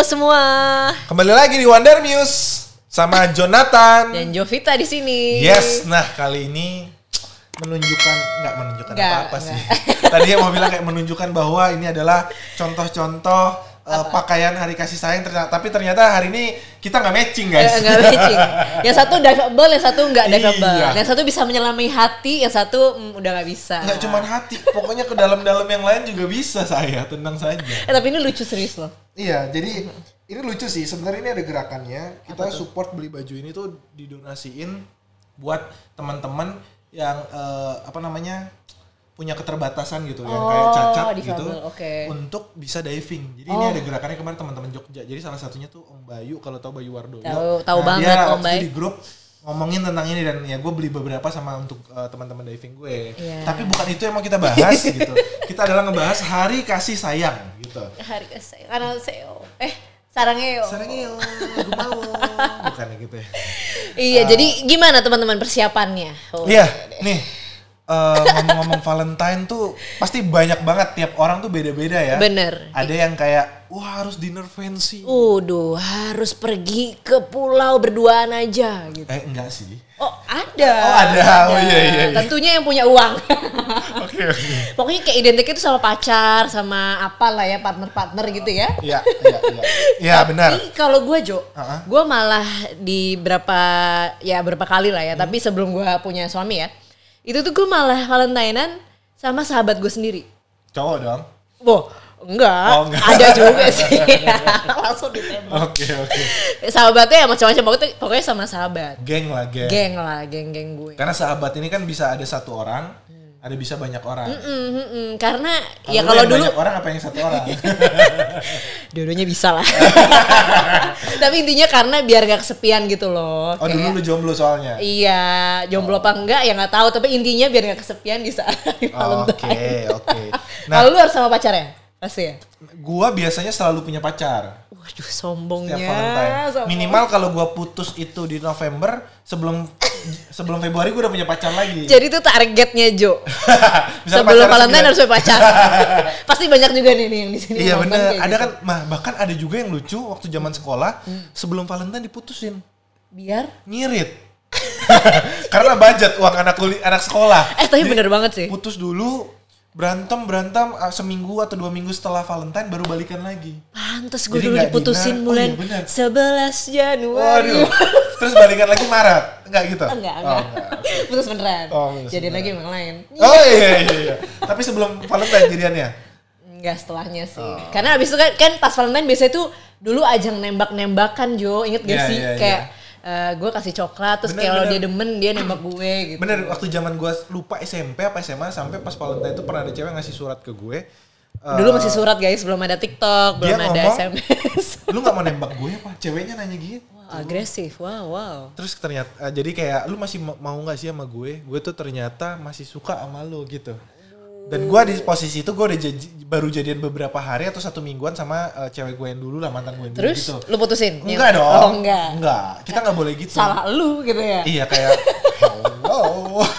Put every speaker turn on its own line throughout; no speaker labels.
semua
Kembali lagi di Wonder Muse sama Jonathan.
dan Jovita di sini.
Yes, nah kali ini menunjukkan nggak menunjukkan
Nggak,
apa-apa sih. Tadinya mau bilang kayak menunjukkan bahwa ini adalah contoh-contoh eh, pakaian hari kasih sayang ternyata tapi ternyata hari ini kita nggak matching guys.
Nggak- Eh, nggak matching. Yang satu diveable, yang satu nggak diveable.
Iya.
Yang satu bisa menyelami hati, yang satu mm, udah nggak bisa.
Nggak cuman hati, pokoknya ke dalam-dalam yang lain juga bisa saya, tenang saja.
Eh tapi ini lucu serius loh.
Iya, jadi ini lucu sih. Sebenarnya ini ada gerakannya. Kita support beli baju ini tuh didonasiin buat teman-teman yang eh, apa namanya punya keterbatasan gitu, yang kayak
Oh,
cacat gitu,
difabel, oke. Oh.
untuk bisa diving. Jadi ini ada gerakannya kemarin teman-teman Jogja. Jadi salah satunya tuh Om Bayu kalau tahu Bayu Wardoyo. Nah,
Tahu- tahu banget
dia
Om
waktu
Bayu.
itu di grup ngomongin tentang ini dan ya gue beli beberapa sama untuk eh, teman-teman diving gue.
Iya.
Tapi bukan itu yang mau kita bahas gitu. Kita adalah ngebahas hari kasih sayang gitu.
Hari saya karena saya eh sarangnya yo.
Sarangeo, Gumawo. Bukan gitu ya.
Iya, jadi gimana teman-teman persiapannya? Oh.
Iya, nih. eh, ngomong-ngomong Valentine tuh pasti banyak banget tiap orang tuh beda-beda ya.
Bener. Uh.
Ada yang kayak wah harus dinner fancy.
Waduh, harus pergi ke pulau berduaan aja gitu.
Eh enggak sih.
Oh, ada.
Oh, ada. Oh, iya, iya, iya.
Tentunya yang punya uang.
Oke oke.
Pokoknya kayak identiknya itu sama pacar, sama apalah ya, partner-partner gitu ya.
Iya, iya, iya. Iya, benar.
Tapi kalau gue Jo,
Uh-uh.
gue malah di berapa ya berapa kali lah ya.
Hmm.
Tapi sebelum gue punya suami ya, itu tuh gue malah valentinean sama sahabat gue sendiri.
Cowok dong.
Boh, enggak,
Oh, enggak.
ada juga sih. Langsung ditembak.
Oke oke.
Sahabatnya ya macam-macam, pokoknya- pokoknya sama sahabat.
Geng lah geng.
Geng lah, geng-geng gue.
Karena sahabat ini kan bisa ada satu orang, ada bisa banyak orang.
Mm, mm, mm. Karena ya
Lu yang
kalau dulu
banyak orang apa yang satu orang?
Dua-duanya bisa lah. Tapi intinya karena biar gak kesepian gitu loh.
Oh dulu
Kayak,
lu jomblo soalnya.
Iya, jomblo apa enggak ya nggak tahu. Tapi intinya biar gak kesepian di saat hari
Oh.
Valentine.
Oke, oke. Nah,
Kalau lu harus sama pacar ya? Pasti ya?
gua biasanya selalu punya pacar
Waduh,
setiap
sombongnya.
Valentine.
sombong.
Minimal kalau gua putus itu di November sebelum sebelum Februari gua udah punya pacar lagi.
Jadi itu targetnya Jo.
Misalnya
Sebelum
pacaran
Valentine
sembilan-
harus punya pacar. Pasti banyak juga nih, nih yang di sini.
Iya
nonton
bener, ada
kayak gitu. Hmm.
kan, mah bahkan ada juga yang lucu waktu zaman sekolah sebelum Valentine diputusin kan?
Biar.
ngirit karena budget uang anak kuli anak sekolah.
Eh tapi
Jadi,
bener banget sih.
Putus dulu berantem berantem ah, seminggu atau dua minggu setelah Valentine baru balikan lagi.
Pantes gue
Jadi
dulu
nggak dinar-
diputusin
oh
bulan
iya, bener.
11 Januari.
Waduh, terus balikan lagi Maret, enggak gitu?
enggak,
Oh,
enggak. Putus beneran.
Oh, putus
Jadi lagi emang lain.
Oh iya iya iya. Tapi sebelum Valentine jadiannya.
Enggak setelahnya sih.
Oh.
Karena abis itu kan, kan pas Valentine biasanya tuh dulu ajang nembak-nembakan Jo. Ingat gak
Iya,
sih?
iya,
kayak gue kasih coklat terus
Bener,
kayak kalau
bener.
dia demen dia nembak gue gitu.
Bener waktu zaman gua lupa SMP apa SMA sampai pas Valentine itu pernah ada cewek ngasih surat ke gue. Eh,
Dulu masih surat guys, belum ada TikTok,
dia
belum ada
ngomong,
SMS.
Lu nggak mau nembak gue apa? Ceweknya nanya gitu.
Wah, agresif. Wow, wow.
Terus ternyata eh, jadi kayak lu masih ma- mau nggak sih sama gue? Gue tuh ternyata masih suka sama lu gitu. Dan gua di posisi itu gue udah jadi- baru jadian beberapa hari atau satu mingguan sama eh, cewek gue yang dulu lah mantan gue yang dulu
Terus
gitu.
lu putusin?
Enggak
Nyet.
dong.
Oh, enggak.
Enggak. Kita nggak boleh gitu.
Salah lu gitu ya.
Iya kayak hello.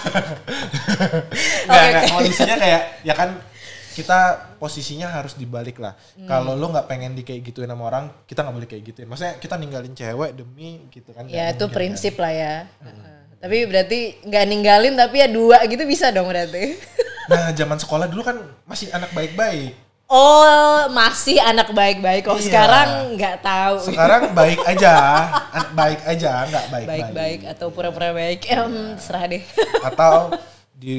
Nggak, nggak,
oke.
kondisinya kayak ya kan kita posisinya harus dibalik lah.
Hmm.
Kalau lo nggak pengen di kayak gituin sama orang, kita nggak boleh kayak gituin. Maksudnya kita ninggalin cewek demi gitu kan?
Ya
nggak
itu
mungkin
prinsip lah ya. Heeh. Tapi berarti nggak ninggalin tapi ya dua gitu bisa dong berarti.
kan. Nah zaman sekolah dulu kan masih anak baik-baik.
Oh masih anak baik-baik kok
Iya.
sekarang nggak tahu
Sekarang baik aja, An- baik aja, nggak baik-baik. Iya.
baik-baik atau pura-pura baik. Em serah deh.
Atau di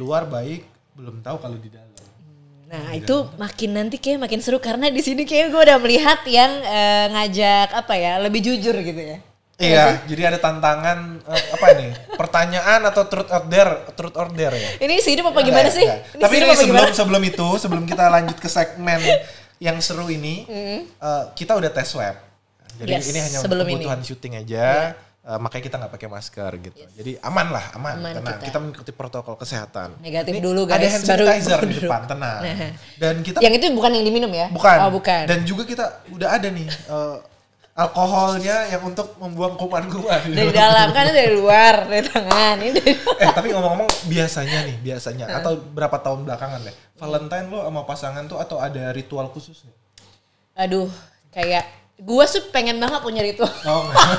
luar baik, belum tahu kalau di dalam.
Nah itu makin nanti kayak makin seru karena di sini kayak gue udah melihat yang eh, ngajak apa ya lebih jujur gitu ya.
Iya, jadi ada tantangan eh, apa nih? Pertanyaan atau truth or dare? Truth or dare ya?
Ini sih hidup apa Oh, gimana
Enggak,
sih?
enggak.
Ini
iya. Tapi ini
sih hidup apa
sebelum
gimana?
sebelum itu, sebelum kita lanjut ke segmen yang seru ini, eh, kita udah tes swab. Jadi
Yes,
ini hanya untuk
sebelum ini. Iya.
kebutuhan syuting aja. eh, makanya kita nggak pakai masker gitu. Jadi aman lah, aman.
Aman
tenang.
kita.
Kita. mengikuti protokol kesehatan. Ini
Negatif dulu,
Ada
guys,
hand
baru-
sanitizer di
baru.
depan, tenang.
Nah.
Dan kita
Yang itu bukan yang diminum ya?
bukan.
Oh bukan.
Dan juga kita udah ada nih eh, alkoholnya yang untuk membuang kuman-kuman.
dari dalam kan ini dari luar dari tangan ini dari
eh tapi ngomong-ngomong biasanya nih biasanya atau berapa tahun belakangan deh Valentine lo sama pasangan tuh atau ada ritual khusus nih?
aduh kayak Gua sih pengen banget punya ritual.
Oh, enggak.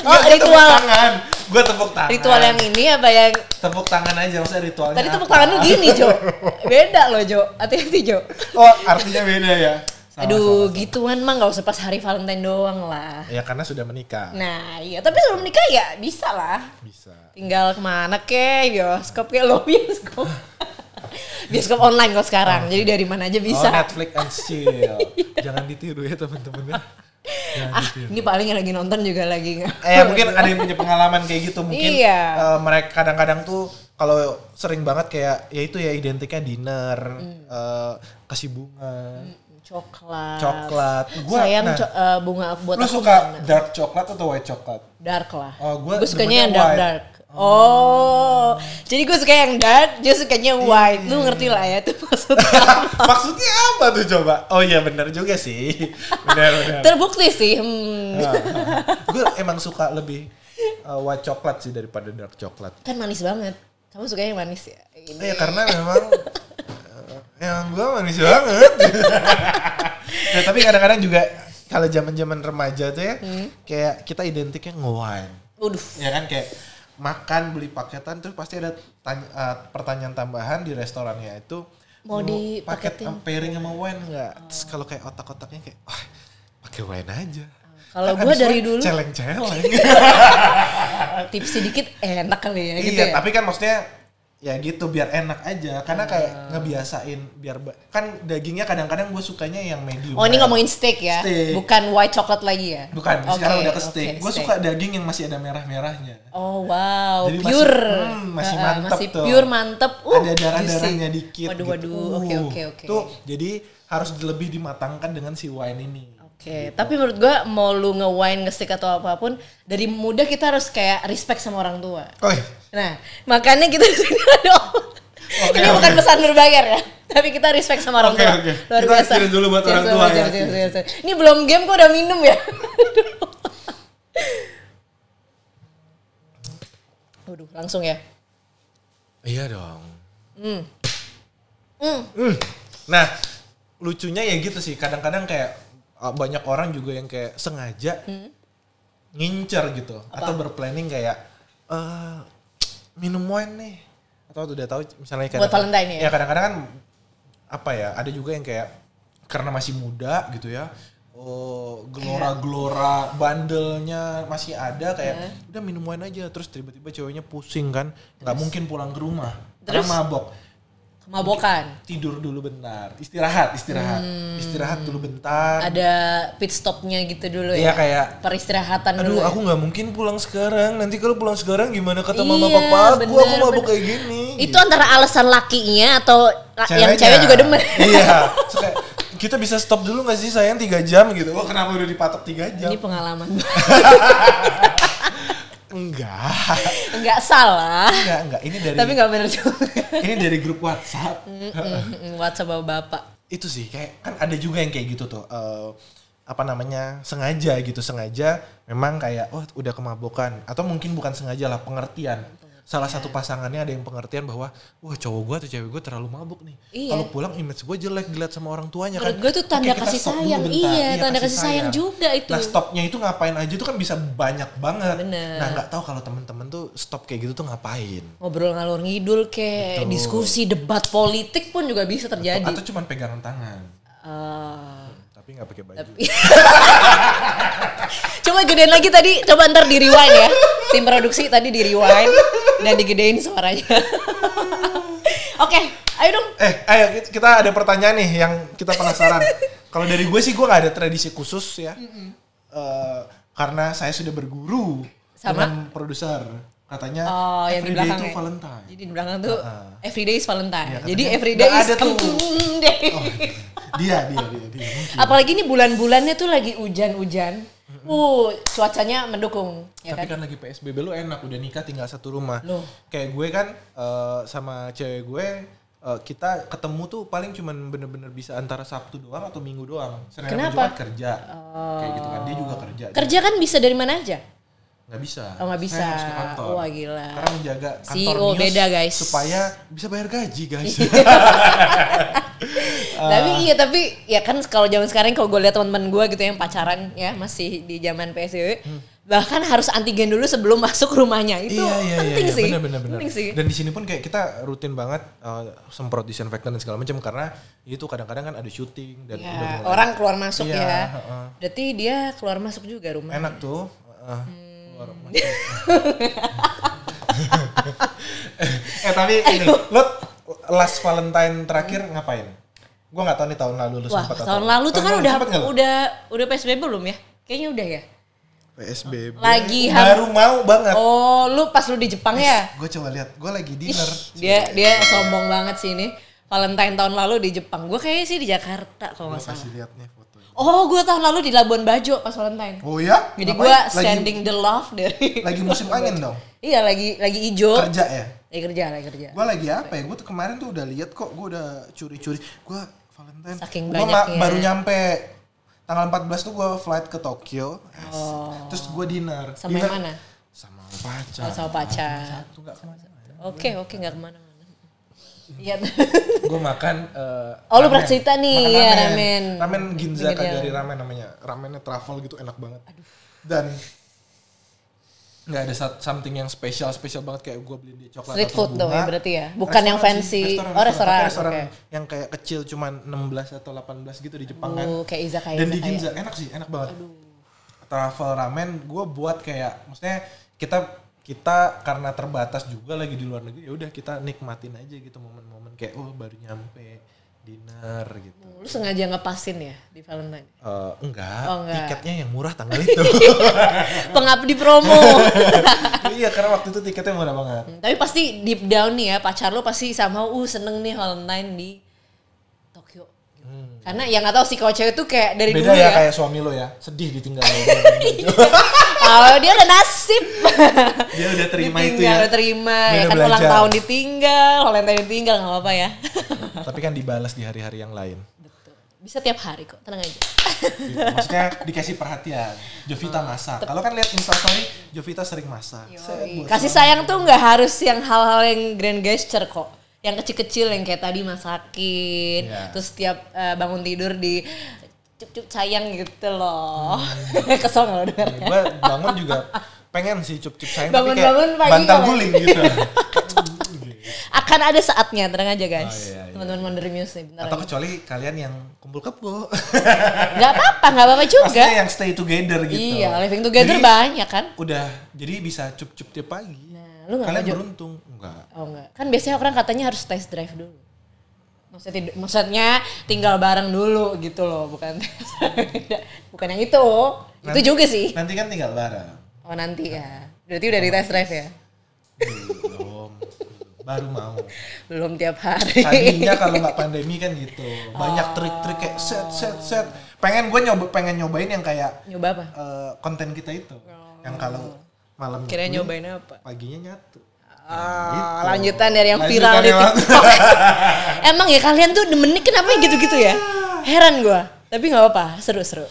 Oh,
Enggak, gua
ritual.
Tepuk tangan. Gue tepuk tangan.
Ritual yang
nah.
ini apa yang
Tepuk tangan aja, maksudnya ritualnya
tadi tepuk
apa?
tangan lu gini, Jo. Beda loh, Jo. Hati-hati, Jo.
Oh, artinya beda ya. Sama,
Aduh,
sama.
gituan mah nggak usah pas hari Valentine doang lah.
Ya karena sudah menikah.
Nah, iya, tapi sebelum nikah ya bisa lah.
Bisa.
Tinggal kemana kek, bioskop kek, lo bioskop. bioskop online kok sekarang, jadi dari mana aja bisa.
Oh, Netflix and chill. Jangan ditiru ya teman-teman ya. Jangan
ah,
ditiru.
ini paling yang lagi nonton juga lagi nggak.
Eh mungkin ada yang punya pengalaman kayak gitu mungkin
Iya.
eh, mereka kadang-kadang tuh kalau sering banget kayak ya itu ya identiknya dinner,
Hmm.
eh, kasih bunga,
Coklat.
coklat. Gua
Sayang
nah,
co- eh, bunga buat
lu
aku
suka
warna.
dark coklat atau white coklat?
dark lah.
Oh, gua
Gua sukanya yang
demennya
dark dark. Oh, jadi gue suka yang dark, dia sukanya
Iya,
white. Lu ngerti lah ya itu maksudnya.
Maksudnya apa tuh coba? Oh iya bener juga sih. Bener bener.
Terbukti sih. Hmm.
gue nah. emang suka lebih uh, white coklat sih daripada dark coklat.
Kan manis banget. Kamu suka yang manis ya? Ini.
Eh karena memang uh, yang gue manis banget. Nah, tapi kadang-kadang juga kalau zaman-zaman remaja tuh ya,
Hmm.
kayak kita identiknya nge-wine.
Waduh.
Ya kan kayak makan beli paketan terus pasti ada tanya- uh, pertanyaan tambahan di restorannya itu
Mau
paket
dipaketin?
uh, pairing sama wine nggak? Terus kalau kayak otak-otaknya kayak "Wah, pakai wine aja.
Kalau
Kan
gua
abis
dari
wine
dulu-
celeng-celeng.
Tips sedikit enak kali ya gitu
iya,
ya. Ah.
tapi kan maksudnya ya gitu biar enak aja karena kayak ngebiasain biar ba- kan dagingnya kadang-kadang gue sukanya yang medium.
Oh ini
rare.
ngomongin steak ya,
Steak.
bukan white chocolate lagi ya?
bukan
Oke,
sekarang udah ke
oke,
steak. gue suka daging yang masih ada merah-merahnya.
Oh wow,
Jadi masih-
pure,
hmm, masih
Ah, ah,
mantep
masih
tuh.
pure mantep. Uh,
ada darah-darahnya
juicy.
dikit
Waduh
gitu.
waduh,
Uh,
oke oke oke.
Tuh, jadi harus lebih dimatangkan dengan si wine ini. Gitu.
Oke, tapi menurut gua mau lu nge-wine, nge-stick atau apapun, dari muda kita harus kayak respect sama orang tua.
Oke.
Nah, makanya kita Aduh.
Oke,
Ini
oke.
bukan pesan berbayar ya, tapi kita respect sama orang
Oke,
tua.
oke. Kita cheers dulu buat orang
Cheers,
tua ya.
cheers, cheers, cheers, cheers. Ini belum game kok udah minum ya. Waduh, langsung ya.
Iya dong.
Hmm.
Hmm. Nah, lucunya ya gitu sih. Kadang-kadang kayak uh, banyak orang juga yang kayak sengaja
Hmm.
ngincer gitu atau berplanning kayak eh minum wine nih atau udah tahu misalnya kayak
Buat Valentine ya?
Ya kadang-kadang kan apa ya? Ada juga yang kayak karena masih muda gitu ya. Oh, gelora-gelora bandelnya masih ada kayak
Hmm.
udah minum wine aja terus tiba-tiba ceweknya pusing kan nggak mungkin pulang ke rumah karena mabok
Kemabokan.
tidur dulu bentar istirahat istirahat
Hmm.
istirahat dulu bentar
Ada pit stopnya gitu dulu
Iya,
ya.
kayak,
peristirahatan
aduh
dulu. ya.
aku nggak mungkin pulang sekarang nanti kalau pulang sekarang gimana kata
Iya,
mama papa aku aku
bener,
mabuk
bener.
kayak gini Gitu.
Itu antara alasan lakinya atau la- yang cewek juga demen.
iya Terus kayak, kita bisa stop dulu nggak sih sayang tiga jam gitu oh kenapa udah dipatok tiga jam
Ini pengalaman.
enggak
Enggak salah.
enggak enggak ini dari
Tapi nggak bener juga.
ini dari grup WhatsApp
Mm, WhatsApp bapak.
itu sih kayak kan ada juga yang kayak gitu tuh eh, apa namanya sengaja gitu sengaja memang kayak oh udah kemabukan atau mungkin bukan sengaja lah pengertian salah satu
Iya.
pasangannya ada yang pengertian bahwa wah cowok gua atau cewek gua terlalu mabuk nih
Iya.
kalau pulang image gua jelek dilihat sama orang tuanya
Menurut
kan
gua itu tanda
kita
kasih
stop dulu
sayang.
bentar.
Iya, tanda kasih sayang juga itu.
nah stopnya itu ngapain aja tuh kan bisa banyak banget
Bener.
nah nggak tahu kalau temen-temen tuh stop kayak gitu tuh ngapain
Ngobrol ngalur ngidul ke
Betul.
diskusi debat politik pun juga bisa terjadi.
atau cuman pegangan tangan
Ah.
tapi nggak pakai baju
coba gedein lagi tadi, coba ntar di rewind ya. Tim produksi tadi di rewind dan digedein suaranya. Oke, ayo dong.
Eh, ayo kita- kita ada pertanyaan nih yang kita penasaran. Kalau dari gue sih gue gak ada tradisi khusus ya. Eh, karena saya sudah berguru
Sama?
dengan produser. Katanya
Oh, yang di
everyday
belakang
itu
ya.
Valentine.
Jadi di belakang tuh
Ah.
everyday is Valentine.
Iya,
Jadi
katanya
everyday
nggak
is
ada tuh. Oh.
kentut day.
Dia, dia, dia, dia. mungkin.
Apalagi ini bulan-bulannya tuh lagi hujan-hujan. Uh, cuacanya mendukung, ya
Tapi
kan?
kan lagi PSBB lu enak udah nikah tinggal satu rumah.
Loh.
Kayak gue kan eh, sama cewek gue eh, kita ketemu tuh paling cuman bener-bener bisa antara Sabtu doang atau Minggu doang. Senin sama
Kenapa?
Jumat kerja. Kayak gitu kan dia juga kerja.
Kerja kan bisa dari mana aja.
nggak bisa.
Oh nggak bisa.
Saya harus ke kantor.
Wah gila.
Karena menjaga kantor
CEO
news
beda, guys. Iya,
supaya bisa bayar gaji guys. Ah.
tapi iya tapi ya kan kalau zaman sekarang kalau gue lihat teman-teman gue gitu yang pacaran ya masih di zaman PSBB
Hmm.
bahkan harus antigen dulu sebelum masuk rumahnya itu
Iya,
penting sih
Benar, benar, benar.
penting sih Ya,
Dan di sini pun kayak kita rutin banget uh, semprot disinfektan dan segala macam karena itu kadang-kadang kan ada syuting dan
Ya,
udah mulai
orang keluar masuk
Iya,
ya
heeh. Eh,
berarti dia keluar masuk juga rumah
enak tuh. uh, keluar
Hmm.
rumah. eh tapi ini lo last Valentine terakhir ngapain? Gue nggak tahu nih tahun lalu lu
wah
sempat
tahun lalu tuh kan udah
sempat Iya, nggak lu?
udah udah PSBB belum ya kayaknya udah ya
PSBB.
Lagi ham-
baru mau banget.
oh lu pas lu di Jepang ya
Gue coba lihat, gue lagi
Ih,
dinner.
dia dia sombong banget sih ini Valentine tahun lalu di Jepang gue kayaknya sih di Jakarta kalau
Gue
nggak salah
kasih lihat nih fotonya.
oh gue tahun lalu di Labuan Bajo pas Valentine
Oh ya?
Jadi
Ngapain?
gue
Lagi-
sending the love dari
lagi musim angin dong
iya lagi lagi ijo.
kerja ya
Lagi kerja, lagi kerja.
gue lagi apa ya gue tuh kemarin tuh udah lihat kok gue udah curi-curi gue Valentine
Saking
Gua ma-
banyaknya. ya.
baru nyampe tanggal 14 tuh gue flight ke Tokyo Asik. terus gue dinner
Sama yang
Dinner
Oh. mana?
sama pacar
Oh, sama pacar.
tuh gak kemana
Oke, oke nggak kemana-mana. Iya.
gue makan eh,
Oh, lu
ramen.
pernah cerita nih,
Makan
iya,
ramen.
ramen. ya.
ramen Ginza
Pinggir jalan.
Kagari ramen namanya ramennya truffle gitu enak banget dan nggak ada sat- something yang spesial spesial banget kayak gue beli di coklat atau
Street food dong ya
bunga.
berarti ya? Bukan yang
Restoran
fancy.
sih,
Oh, restoran,
Tapi restoran
oke.
yang kayak kecil cuman 16 atau 18 gitu di Jepang kan
Uh, kayak izakaya.
dan di
izakaya.
Ginza enak sih enak banget Travel ramen gue buat kayak maksudnya kita kita karena terbatas juga lagi di luar negeri ya udah kita nikmatin aja gitu momen-momen kayak oh baru nyampe dinner gitu
Lu sengaja ngepasin ya di Valentine.
Eh, enggak,
Oh, enggak.
tiketnya yang murah tanggal itu
Pengabdi promo.
iya karena waktu itu tiketnya murah banget
Hmm, Tapi pasti deep down nih ya, pacar lu pasti sama uh seneng nih Valentine di Tokyo. Karena yang nggak tahu sih kalau cewek tuh kayak dari
Hmm. beda
dulu
ya,
ya.
kayak suami lo ya sedih ditinggal
Kalau dia udah nasib.
dia udah terima itu
Ditinggal,
ya
udah terima.
Dia
Ya
udah
kan ulang
belajar.
tahun ditinggal, Valentine ditinggal nggak apa-apa ya.
tapi kan dibalas di hari-hari yang lain
Betul. Bisa tiap hari kok, tenang aja.
Gitu. maksudnya dikasih perhatian Jovita masak kalau kan lihat instastory Jovita sering masak Set, buat
Kasih sayang tuh nggak harus yang hal-hal yang grand gesture kok. Yang kecil-kecil yang kayak tadi masakin,
Iya.
terus tiap eh, bangun tidur di cup-cup sayang gitu loh.
Hmm.
Kesel nggak lo denger?
suami. gua bangun juga pengen sih cup-cup sayang tapi kayak
Bangun-bangun pagi
bantal
kalau-
guling gitu
Akan ada saatnya, tenang aja guys.
Oh, iya, iya.
Teman-teman Wonder Muse nih, bentar
atau
lagi.
kecuali kalian yang kumpul kebo
Gak apa-apa, gak apa-apa juga.
maksudnya yang stay together gitu
Iya, living together
Jadi,
banyak kan.
udah jadi bisa cup-cup tiap pagi
Nah, lu nggak
kalian
maju.
beruntung enggak
Oh enggak. Kan biasanya orang katanya harus test drive dulu. Maksudnya, tid- maksudnya tinggal bareng dulu gitu loh, bukan test drive. bukan yang itu. itu
Nanti-
juga sih.
nanti kan tinggal bareng
Oh nanti ya. Berarti udah di test drive ya?
belum baru mau
Belum tiap hari.
tadinya kalau nggak pandemi kan gitu banyak trik-trik kayak set set set pengen gue nyoba pengen nyobain yang kayak
Nyoba apa?
eh, konten kita itu yang kalau malam
Kira
nyapuin,
nyobain apa?
paginya nyatu
Ah,
Gitu.
lanjutan dari yang
Lanjutan
viral di
yang-
TikTok. Emang ya kalian tuh demennya kenapa ya gitu-gitu ya? Heran gua. Tapi nggak apa-apa, seru-seru.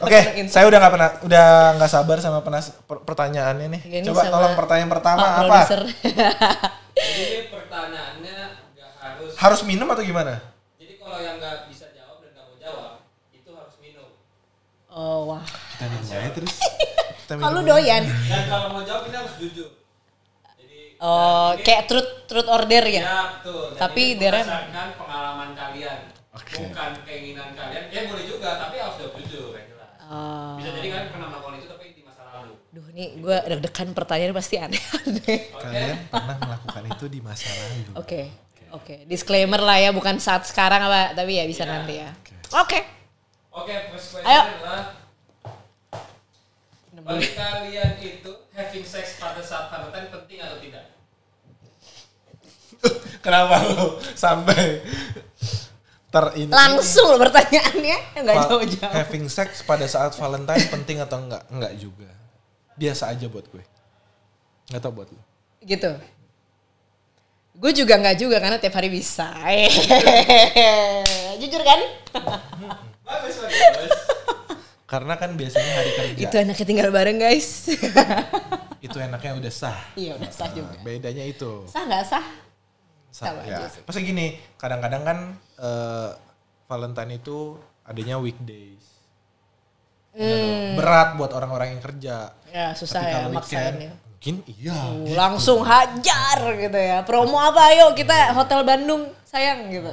oke saya udah nggak pernah udah nggak sabar sama penas per- pertanyaannya nih
Ini
coba
sama
tolong pertanyaan pertama
Pak
apa
produser.
Jadi pertanyaannya nggak harus.
harus minum atau gimana
Jadi kalau yang nggak bisa jawab dan nggak mau jawab itu harus minum.
oh wah.
kita minum aja terus kita
Kalau
minum aja.
doyan.
Dan kalau mau jawab ini harus jujur. Jadi
Oh,
dan ini-
kayak truth truth order ya?
Ya, betul. Dan
Tapi
ini
Darren-
berdasarkan pengalaman kalian.
Oke.
Bukan keinginan kalian. Ya boleh juga, tapi harus jawab jujur yang jelas.
Oh,
Bisa jadi kalian pernah melakukan itu tapi di masa lalu.
duh nih gue deg-degan pertanyaan pasti aneh-aneh.
Oke.
kalian pernah melakukan itu di masa lalu
Oke, oke. Disclaimer lah ya, bukan saat sekarang apa, tapi ya
Iya,
bisa nanti ya. Oke.
Oke, first question
Ayo.
adalah bagi kalian itu having sex pada saat Valentine penting atau tidak?
kenapa lu sampai ter ini
Langsung loh pertanyaannya, nggak
Val-
jauh-jauh.
Having sex pada saat Valentine penting atau enggak? Enggak juga. Biasa aja buat gue. Enggak tau buat lo.
Gitu. Gue juga nggak juga karena tiap hari bisa. Jujur kan?
Bagus, bagus.
Karena kan biasanya hari kerja
Itu anaknya tinggal bareng guys.
itu enaknya udah sah.
iya udah sah
Nah,
juga.
bedanya itu.
Sah nggak sah?
Sah,
Sama
ya.
aja sih.
Maksudnya gini, kadang-kadang kan eh, Valentine itu adanya weekdays. Iya Berat buat orang-orang yang kerja.
Ya susah
Tapi
Hmm. ya
kalau
maksain
weekend,
ya.
Mungkin iya.
Uh, langsung hajar gitu ya. Promo apa ayo kita hotel Bandung sayang gitu.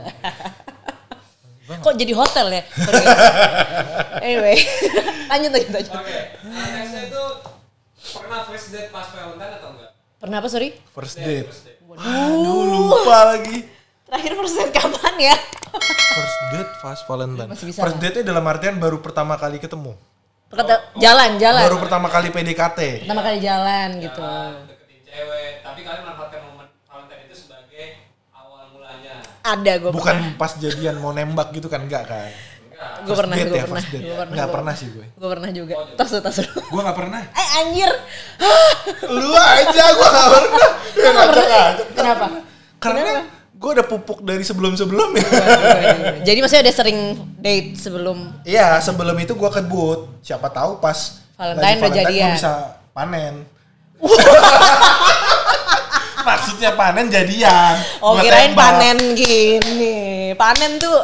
Kok jadi hotel ya? Sorry, guys. anyway, lanjut lanjut lanjut.
Oke, nah, nextnya itu pernah first date pas Valentine atau enggak?
Pernah apa sorry?
First date.
Date, first date.
Aduh lupa lagi.
Terakhir persen kapan ya?
First date fast Valentine.
Masih bisa ya?
First
lah.
date-nya dalam artian baru pertama kali ketemu.
Kata jalan jalan.
Baru pertama kali PDKT.
Pertama kali jalan gitu.
Jalan, deketin cewek, tapi kalian manfaatkan momen Valentine itu sebagai awal mulanya.
Ada gue
Bukan pas jadian mau nembak gitu kan enggak kan?
Enggak.
gue
First
pernah,
date
gue
ya,
pernah,
first date.
gue pernah,
Nggak
gua
pernah sih gue.
Gue pernah juga. Tas dulu, tas dulu.
Gua nggak pernah.
Eh anjir,
Lu aja gua nggak pernah. Ya, ngajak aja.
kenapa?
Karena gue udah pupuk dari ya. sebelum-sebelumnya.
Jadi maksudnya udah sering date sebelum
Iya, sebelum itu gua kebut. Siapa tahu pas
Valentine
lagi
udah jadian.
gua bisa panen. Maksudnya panen jadian.
Oh
Gua
kirain
tembak.
panen gini. Panen tuh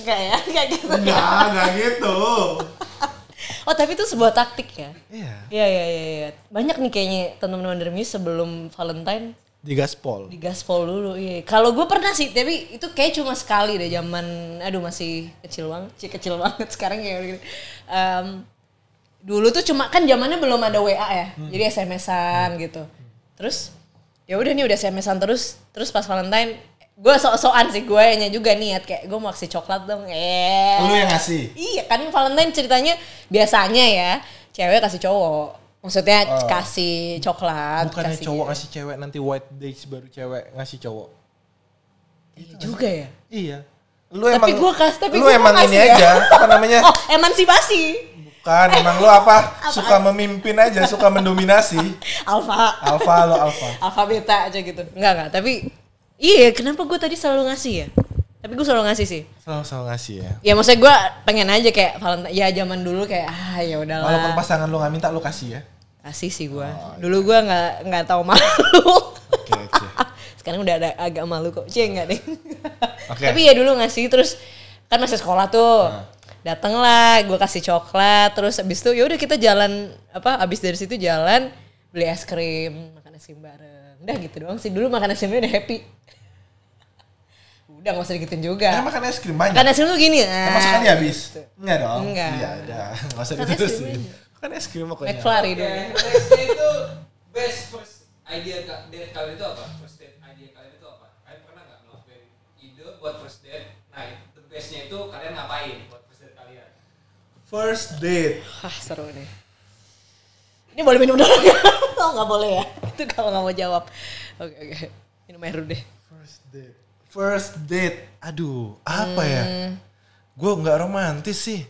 enggak ya, kayak gitu.
Enggak, enggak gitu.
Oh tapi itu sebuah taktik ya.
Iya.
Iya iya iya. iya. Banyak nih kayaknya teman-teman dari Muse sebelum Valentine
Di gaspol.
di gaspol dulu. Iya. Kalau gue pernah sih, tapi itu kayak cuma sekali deh zaman aduh masih kecil banget, sih kecil banget sekarang ya gitu. Em, dulu tuh cuma kan zamannya belum ada WA ya.
Hmm.
Jadi SMS-an gitu. Terus ya udah nih udah SMS-an terus terus pas Valentine gue sok-sokan sih gue juga niat kayak gue mau kasih coklat dong. Eh.
Lu ya? yang ngasih.
Iya kan Valentine ceritanya biasanya ya cewek kasih cowok. Maksudnya
Oh.
kasih coklat,
Bukannya
kasih
cowok ngasih cewek nanti white days baru cewek ngasih cowok.
Iya
gitu?
juga ya.
Iya. Lu
Tapi
emang
gua kas- tapi
lu
gua
emang
kasih
ini
ya.
aja apa namanya?
Oh, emansipasi.
Bukan, emang lu apa? Suka memimpin aja, suka mendominasi.
Alfa.
Alfa lo alfa.
Alfa beta aja gitu. Enggak enggak, tapi iya kenapa gue tadi selalu ngasih ya? Tapi gue selalu ngasih sih.
Selalu selalu ngasih ya.
Ya maksudnya gue pengen aja kayak Valentine ya zaman dulu kayak ah ya
Walaupun
udahlah.
pasangan lu nggak minta lu kasih ya.
Kasih sih gue. Dulu gue nggak nggak tahu malu.
Oh, iya. Oke oke.
Sekarang udah ada agak malu kok. Cie enggak deh.
Oke. Nah.
Tapi ya dulu ngasih terus kan masih sekolah tuh. Dateng lah, gue kasih coklat, terus abis itu ya udah kita jalan apa abis dari situ jalan beli es krim, makan es krim bareng. Udah gitu doang sih. Dulu makan es krimnya udah happy. udah gak usah dikitin
Karena
juga.
makan es krim banyak.
Makan es krim tuh gini.
Emang
ah,
sekali habis? Enggak dong.
Enggak.
Iya, udah. Enggak usah
Makan es krim
diterusin.
aja.
Makan es krim pokoknya.
McFlurry
Oke,
dulu.
nextnya itu best first idea ka- date kalian itu apa? First date idea kalian itu apa? Kalian pernah nggak ngelakuin ide buat first date? Nah, the bestnya itu kalian ngapain buat first date kalian?
First date.
Wah seru nih. Ini boleh minum dulu nggak? Oh nggak boleh ya. Itu kalau nggak mau jawab. Oke oke. Minum air dulu deh.
First date. First date. Aduh, apa ya?
Hmm.
Gue nggak romantis sih.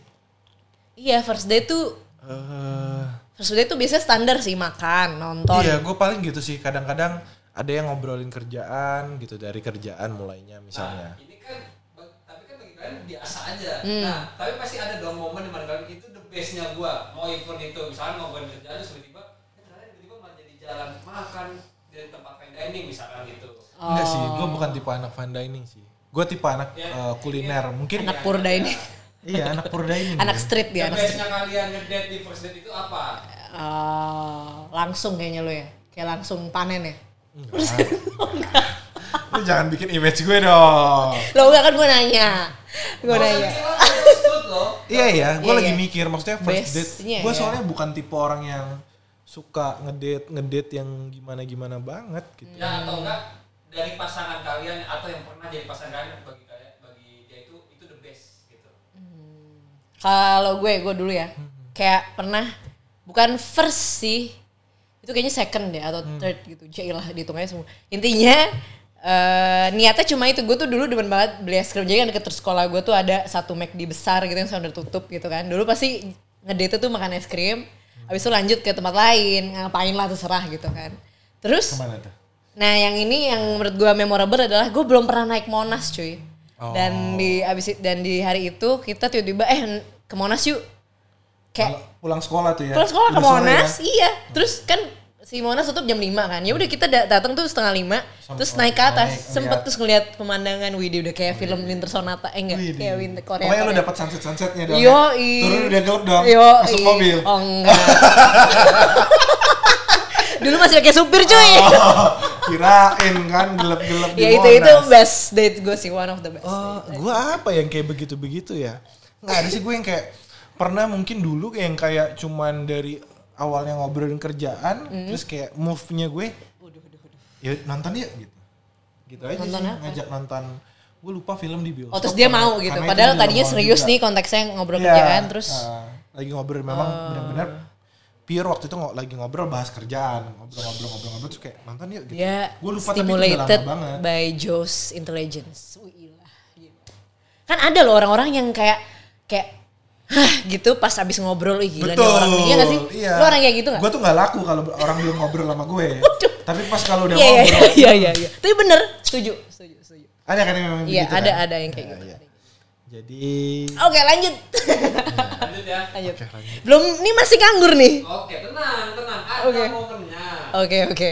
Iya first day tuh
Eh,
first day tuh biasanya standar sih makan nonton.
iya, gue paling gitu sih. Kadang-kadang ada yang ngobrolin kerjaan gitu dari kerjaan mulainya misalnya.
Ini kan ba- tapi kan bagi kalian biasa aja. Nah, tapi pasti ada dong momen di mana kalian itu the bestnya gua. Mau event itu, misalnya ngobrolin kerjaan terus tiba-tiba, eh, ternyata tiba-tiba malah jadi jalan makan dari tempat fine dining misalkan gitu.
Ah.
Enggak sih,
Oh.
gue bukan tipe anak fine dining sih. Gue tipe anak eh, kuliner. Mungkin
Anak purda ini.
iya anak pur dining.
Anak street
The
dia. Anak street.
bestnya kalian ngedate di first date itu apa?
Ah, langsung kayaknya lo ya. Kayak langsung panen ya.
Lu jangan bikin image gue dong.
Lo enggak kan gue nanya. Gue
Gak usah
nanya.
bikin orang harus food loh.
Iya ya, gue
Iya,
lagi
iya.
mikir maksudnya first
Base-nya
date. Gue
ya.
soalnya bukan tipe orang yang suka ngedate ngedate yang gimana gimana banget gitu.
Ya atau enggak dari pasangan kalian atau yang pernah jadi pasangan kalian bagi kalian bagi dia itu itu the best gitu.
Kalau gue, gue dulu ya. Kayak pernah bukan first sih. Itu kayaknya second deh atau third gitu. Jailah dihitungnya semua. Intinya eh niatnya cuma itu. Gue tuh dulu demen banget beli es krim. Jadi kan deket sekolah gue tuh ada satu McD besar gitu yang sekarang udah tutup gitu kan. Dulu pasti ngedate tuh makan es krim. Habis itu lanjut ke tempat lain, ngapain lah terserah gitu kan. Terus
Kemana tuh?
Nah yang ini yang menurut gue memorable adalah gue belum pernah naik Monas cuy.
Oh.
Dan di abis i- dan di hari itu kita tiba-tiba eh n- ke Monas yuk. kayak
pulang sekolah tuh ya.
pulang sekolah ke
Udah sore
Monas,
ya.
iya. Terus kan si Monas tutup jam 5 kan. Ya udah kita da- datang tuh setengah 5, terus naik ke atas.
naik, iya.
sempet
lihat.
terus ngeliat pemandangan Widih udah kayak film Winter Sonata eh enggak,
Widih.
kayak Winter Korea.
Pokoknya lu
Korea.
dapat sunset-sunsetnya dong.
Yo,
ya? Turun udah gelap dong.
Yo,
Masuk mobil.
Oh enggak. Dulu masih pakai supir cuy.
Oh, kirain kan gelap-gelap di
ya itu
Monas.
itu best date gue sih one of the best.
Eh, gua apa yang kayak begitu-begitu ya? Nggak ada sih gue yang kayak pernah mungkin dulu kayak yang kayak cuman dari awalnya ngobrolin kerjaan,
Mm-hmm.
terus kayak move-nya gue, ya nonton yuk gitu. Gitu aja
Nonton
sih,
apa?
ngajak nonton. Gue lupa film di bioskop.
Oh terus dia mau
ya?
gitu.
Karena itu
Padahal
juga
tadinya
mau
serius
juga.
nih konteksnya ngobrol
Iya,
kerjaan kan, terus. Eh.
eh, lagi ngobrol memang benar-benar pure waktu itu ngo- lagi ngobrol bahas kerjaan, ngobrol-ngobrol-ngobrol-ngobrol terus kayak nonton yuk gitu.
Dia
Gua lupa tapi itu udah lama
Iya, stimulated
banget.
by Joe's intelligence. Wih, ilah, gila. Kan ada loh orang-orang yang kayak kayak Hah gitu pas abis ngobrol ih gila nih orang nih. Iya gak sih?
Iya.
Lu orang kayak gitu gak?
Gue tuh gak laku kalau orang belum ngobrol sama gue. Tapi pas kalau udah
Iya iya
ngobrol,
iya, iya iya iya. Tapi bener, setuju, setuju, setuju.
ada kan yang memang
Iya,
begitu
ada
kan?
ada yang kayak
Iya,
gitu.
iya.
ada yang-
Jadi
Oke, lanjut.
lanjut ya
lanjut.
Oke, lanjut.
Belum ini masih nganggur nih.
oke tenang tenang ada
Oke.
momennya
Oke, oke.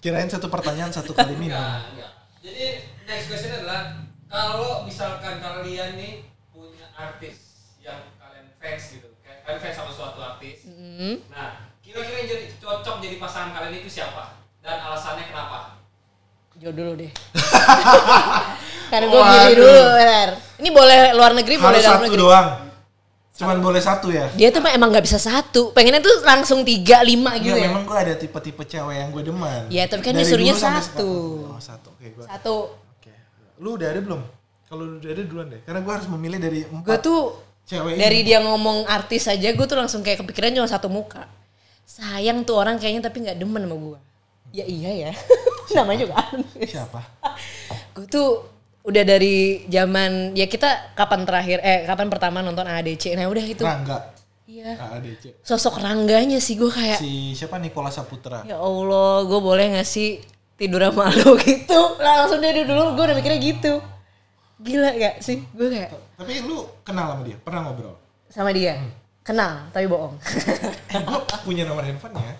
kirain satu pertanyaan satu kali
enggak
minum.
enggak Iya, jadi next question adalah kalau misalkan kalian nih punya artis yang kalian fans gitu kayak kalian fans sama suatu artis
Hmm.
nah kira-kira yang jadi cocok jadi pasangan kalian itu siapa dan alasannya kenapa
Jauh dulu deh. Karena gue
Waduh.
pilih dulu, bener. Ini boleh luar negeri, boleh
Harus
dalam
satu
negeri.
doang. Cuman boleh satu ya.
Dia tuh emang nggak bisa satu. Pengennya tuh langsung tiga, lima
Iya,
gitu ya.
memang gue ada tipe-tipe cewek yang gue demen.
Iya, tapi kan
Dari
disuruhnya
dulu sampai
satu.
sekarang. Oh, satu. Oke, gua-
Satu.
Oke. Lu udah ada belum? Kalau lu udah ada duluan deh. Karena gue harus memilih dari empat
Gue tuh
cewek
dari
ini.
dia ngomong artis aja, gue tuh langsung kayak kepikiran cuma satu muka. Sayang tuh orang kayaknya tapi nggak demen sama gue. Ya iya ya. Namanya juga artis.
siapa?
gue tuh udah dari zaman ya kita kapan terakhir eh kapan pertama nonton ADC nah udah itu
Rangga.
iya
ADC.
sosok rangganya sih gue kayak
Si siapa Nikola Saputra.
ya allah gue boleh gak sih tidur sama lo gitu lah langsung dari dulu gue udah mikirnya gitu gila gak sih gue kayak
Tapi lu kenal sama dia? Pernah ngobrol?
sama dia
Hmm.
kenal tapi bohong
Eh, gue punya nomor handphonenya.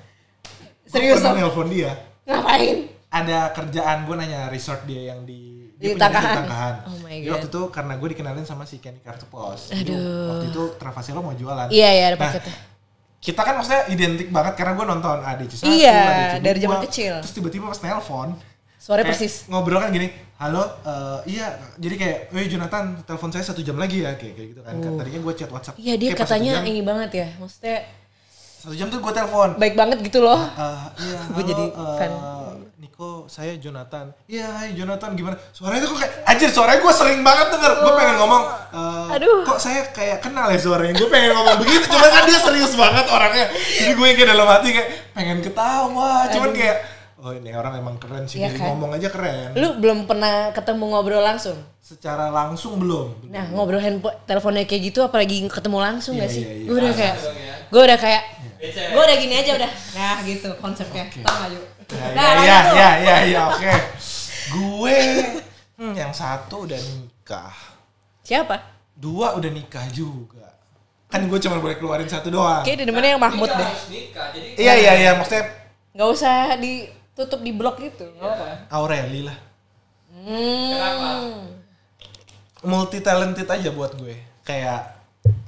Gua
serius
pernah
lo?
nelpon dia.
ngapain
Nah. Ada kerjaan gue nanya resort dia yang di
Di
dia punya
Tangkahan.
Tangkahan.
Oh my
Jadi
God.
waktu itu karena gue dikenalin sama si Kenny Kartu Pos. Jadi Waktu itu Travasilo mau jualan.
iya iya ada
Nah,
paketnya
kita kan maksudnya identik banget karena gue nonton ADC satu,
Iya,
ADC
dari
dua.
zaman kecil.
Terus tiba-tiba pas nelpon,
suaranya
kayak
persis
Ngobrol kan gini, halo, eh, iya, jadi kayak, eh Jonathan, telepon saya satu jam lagi ya, kayak, kayak gitu kan. Tadinya gue chat WhatsApp.
Oh. iya dia
Kayak pas
katanya
satu jam,
ini banget ya maksudnya
satu jam tuh gue telepon.
baik banget gitu loh
Eh, iya,
Gua
halo,
jadi
eh,
fan.
Niko, saya Jonathan. Iya, hai Jonathan, gimana? Suaranya tuh kok kayak, anjir suaranya gue sering banget denger. Gue pengen ngomong, eh,
Oh. Aduh.
kok saya kayak kenal ya suaranya. Gue pengen ngomong begitu, cuman kan dia serius banget orangnya. Jadi gue yang kayak dalam hati kayak, pengen ketawa. Cuman kayak, oh ini orang emang keren sih,
Iya
Dari
kan?
ngomong aja keren.
lu belum pernah ketemu ngobrol langsung
Secara langsung belum.
Nah ngobrol handphone teleponnya kayak gitu apalagi ketemu langsung
Iya,
gak sih?
iya, iya.
Gue udah kayak,
dong ya. Iya.
gue udah kayak,
Becek.
gue udah gini aja udah. Nah gitu konsepnya. Tau gak yuk?
Ya, ya,
Nah,
ya,
lanjut lu.
ya, ya, ya, oke. Gue, hmm, yang satu udah nikah.
Siapa?
dua udah nikah juga kan gue cuma boleh keluarin satu doang
Kayaknya demennya yang Mahmud
Nikah
deh.
harus nikah jadi
iya iya iya maksudnya
Gak usah ditutup di blok gitu. Hmm. Gak apa.
Aureli lah
Iya. Kenapa?
Mm.
multi talented aja buat gue kayak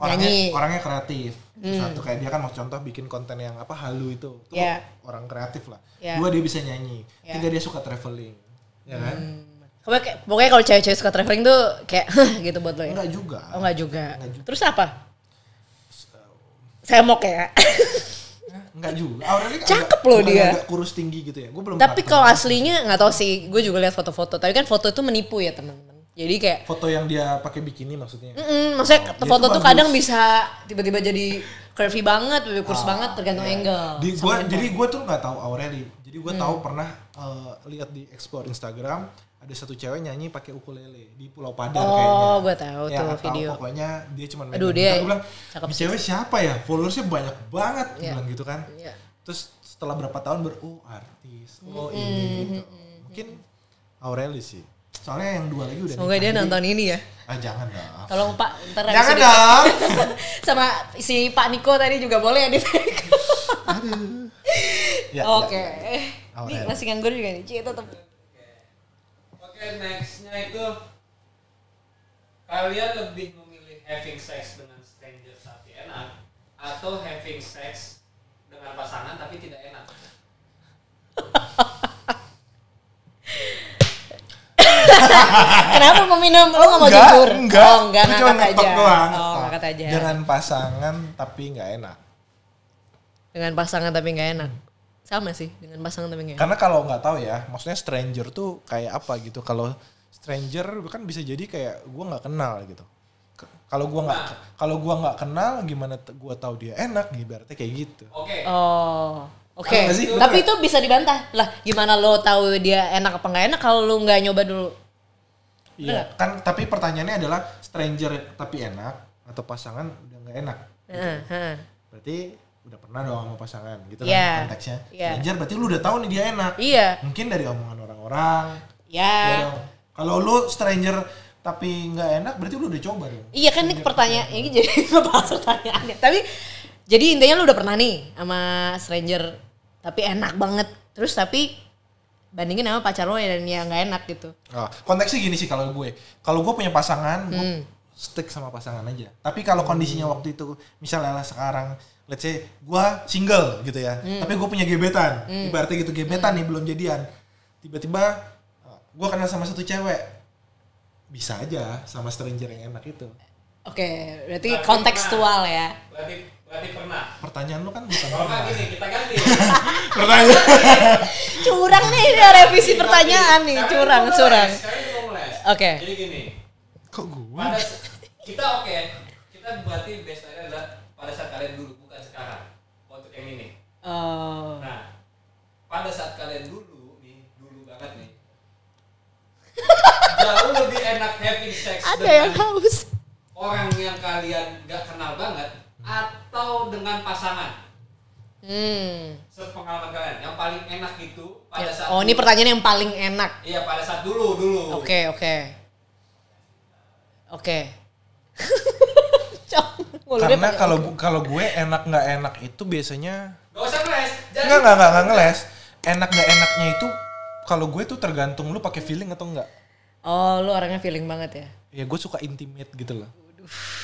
orangnya
Nyanyi. Hmm.
orangnya kreatif satu kayak dia kan mau contoh bikin konten yang apa halu itu Itu
Iya.
orang kreatif lah
Iya.
dua dia bisa nyanyi
Iya.
tiga dia suka traveling ya kan
Hmm. Pokoknya, kayak- pokoknya kalau cewek-cewek suka traveling tuh kayak gitu buat lo ya?
enggak juga
Oh enggak juga.
Enggak juga.
Terus apa? Semok ya.
enggak juga Aureli kan
Cakep
agak-
loh
bukan
dia.
agak kurus tinggi gitu ya gue belum
Tapi
pernah
kalau aslinya nggak tahu sih. Gue juga lihat foto-foto. Tapi kan foto itu menipu ya teman-teman. Jadi kayak
ketemu. foto yang dia pakai bikini maksudnya
Mm-mm, maksudnya
Oh, itu
foto tuh
bagus.
kadang bisa tiba-tiba jadi curvy banget, tiba-tiba kurus banget tergantung angle.
Ah, iya. Di
sama Hmm.
gua
handphone.
jadi gua tuh nggak tahu Aureli. Jadi gua tahu pernah eh, lihat di explore Instagram ada satu cewek nyanyi pakai ukulele di Pulau Padar
Oh,
kayaknya.
gua tahu
Ya,
tuh
nggak tahu,
video.
pokoknya dia cuma
Aduh,
megang
dia
gitar. Gua bilang,
cakep
"Ini cewek siapa ya? Followersnya banyak banget." Gua
Iya.
bilang gitu kan.
Iya.
Terus setelah berapa tahun baru oh artis, oh ini gitu. Mungkin Aureli sih. Soalnya yang dua lagi udah
Semoga
nikah,
dia
jadi-
nonton ini ya.
Ah jangan dong.
Tolong Pak, ntar habis
Jangan
ini-
dong.
sama si Pak Niko tadi juga boleh ya di
Aduh. Ya, ya.
Oke.
Awal
Ini
aja.
masih nganggur juga nih. Cie tetap.
Oke, nextnya itu kalian lebih memilih having sex dengan stranger tapi enak atau having sex dengan pasangan tapi tidak enak.
Kenapa meminum? Lo nggak mau
Oh, Enggak,
jujur?
Enggak,
Oh, enggak
Gua
ngangkat
cuma
aja.
ngetok doang.
Oh,
ngetok.
ngangkat aja.
Dengan pasangan tapi nggak enak.
Dengan pasangan tapi nggak enak. Sama sih, dengan pasangan tapi nggak enak.
Karena kalau nggak tahu ya, maksudnya stranger tuh kayak apa gitu. Kalau stranger kan bisa jadi kayak gua nggak kenal gitu. K- Kalau gua nggak kalau gua nggak kenal gimana t- gua tahu dia enak ibaratnya kayak gitu.
Oke,
Oh. Oke,
Tahu nggak sih?
tapi itu bisa dibantah. Lah, gimana lo tahu dia enak apa nggak enak kalau lo nggak nyoba dulu?
Iya, kan tapi pertanyaannya adalah stranger tapi enak atau pasangan udah nggak enak.
Heeh, heeh.
Berarti udah pernah dong sama pasangan gitu
Iya.
kan konteksnya.
Iya.
Stranger berarti lu udah tahu nih dia enak.
Iya.
Mungkin dari omongan orang-orang,
Ya.
Iya dong. Kalau lu stranger tapi nggak enak, berarti lu udah coba dong.
Iya kan ini pertanyaan ini jadi ngebahas pertanyaannya. Tapi jadi intinya lu udah pernah nih sama stranger tapi enak banget. Terus tapi bandingin sama pacar lo yang yang nggak enak gitu.
Ah, konteksnya gini sih kalau gue. Kalau gue punya pasangan, gue stick sama pasangan aja. Tapi kalau kondisinya waktu itu, misalnya lah sekarang, let's say gue single gitu ya. Tapi gue punya gebetan. Ibaratnya gitu gebetan nih belum jadian. Tiba-tiba ah, gue kenal sama satu cewek. Bisa aja sama stranger yang enak itu.
Oke, berarti kontekstual ya.
berarti berarti pernah.
Pertanyaan lu kan bukan
Kalau nggak
pernah.
gini kita ganti.
Pertanyaan.
Curang nih ini revisi pertanyaan nih,
Sekarang
curang,
kita mau
curang.
les, Sekarang kita mau les.
Oke.
Jadi gini,
Kok gue?
pada se- kita oke kita berarti baseline adalah pada saat kalian dulu bukan sekarang untuk yang ini
Oh.
nah pada saat kalian dulu nih dulu banget nih jauh lebih enak having sex
Ada yang
dengan
haus.
orang yang kalian gak kenal banget atau dengan pasangan
Hmm.
sepengalaman kalian yang paling enak itu pada
Ya,
saat
Oh, ini
dulu.
pertanyaan yang paling enak.
iya pada saat dulu dulu
Oke, oke. Oke. Cok, mulutnya
Karena
pakai-
kalau gu- kalau gue enak nggak enak itu biasanya
gak usah les jadi
Enggak, enggak, enggak, enggak ngeles. Enak enggak enaknya itu kalau gue tuh tergantung lu pakai feeling atau enggak.
Oh, lu orangnya feeling banget ya?
Ya gue suka intimate gitu loh.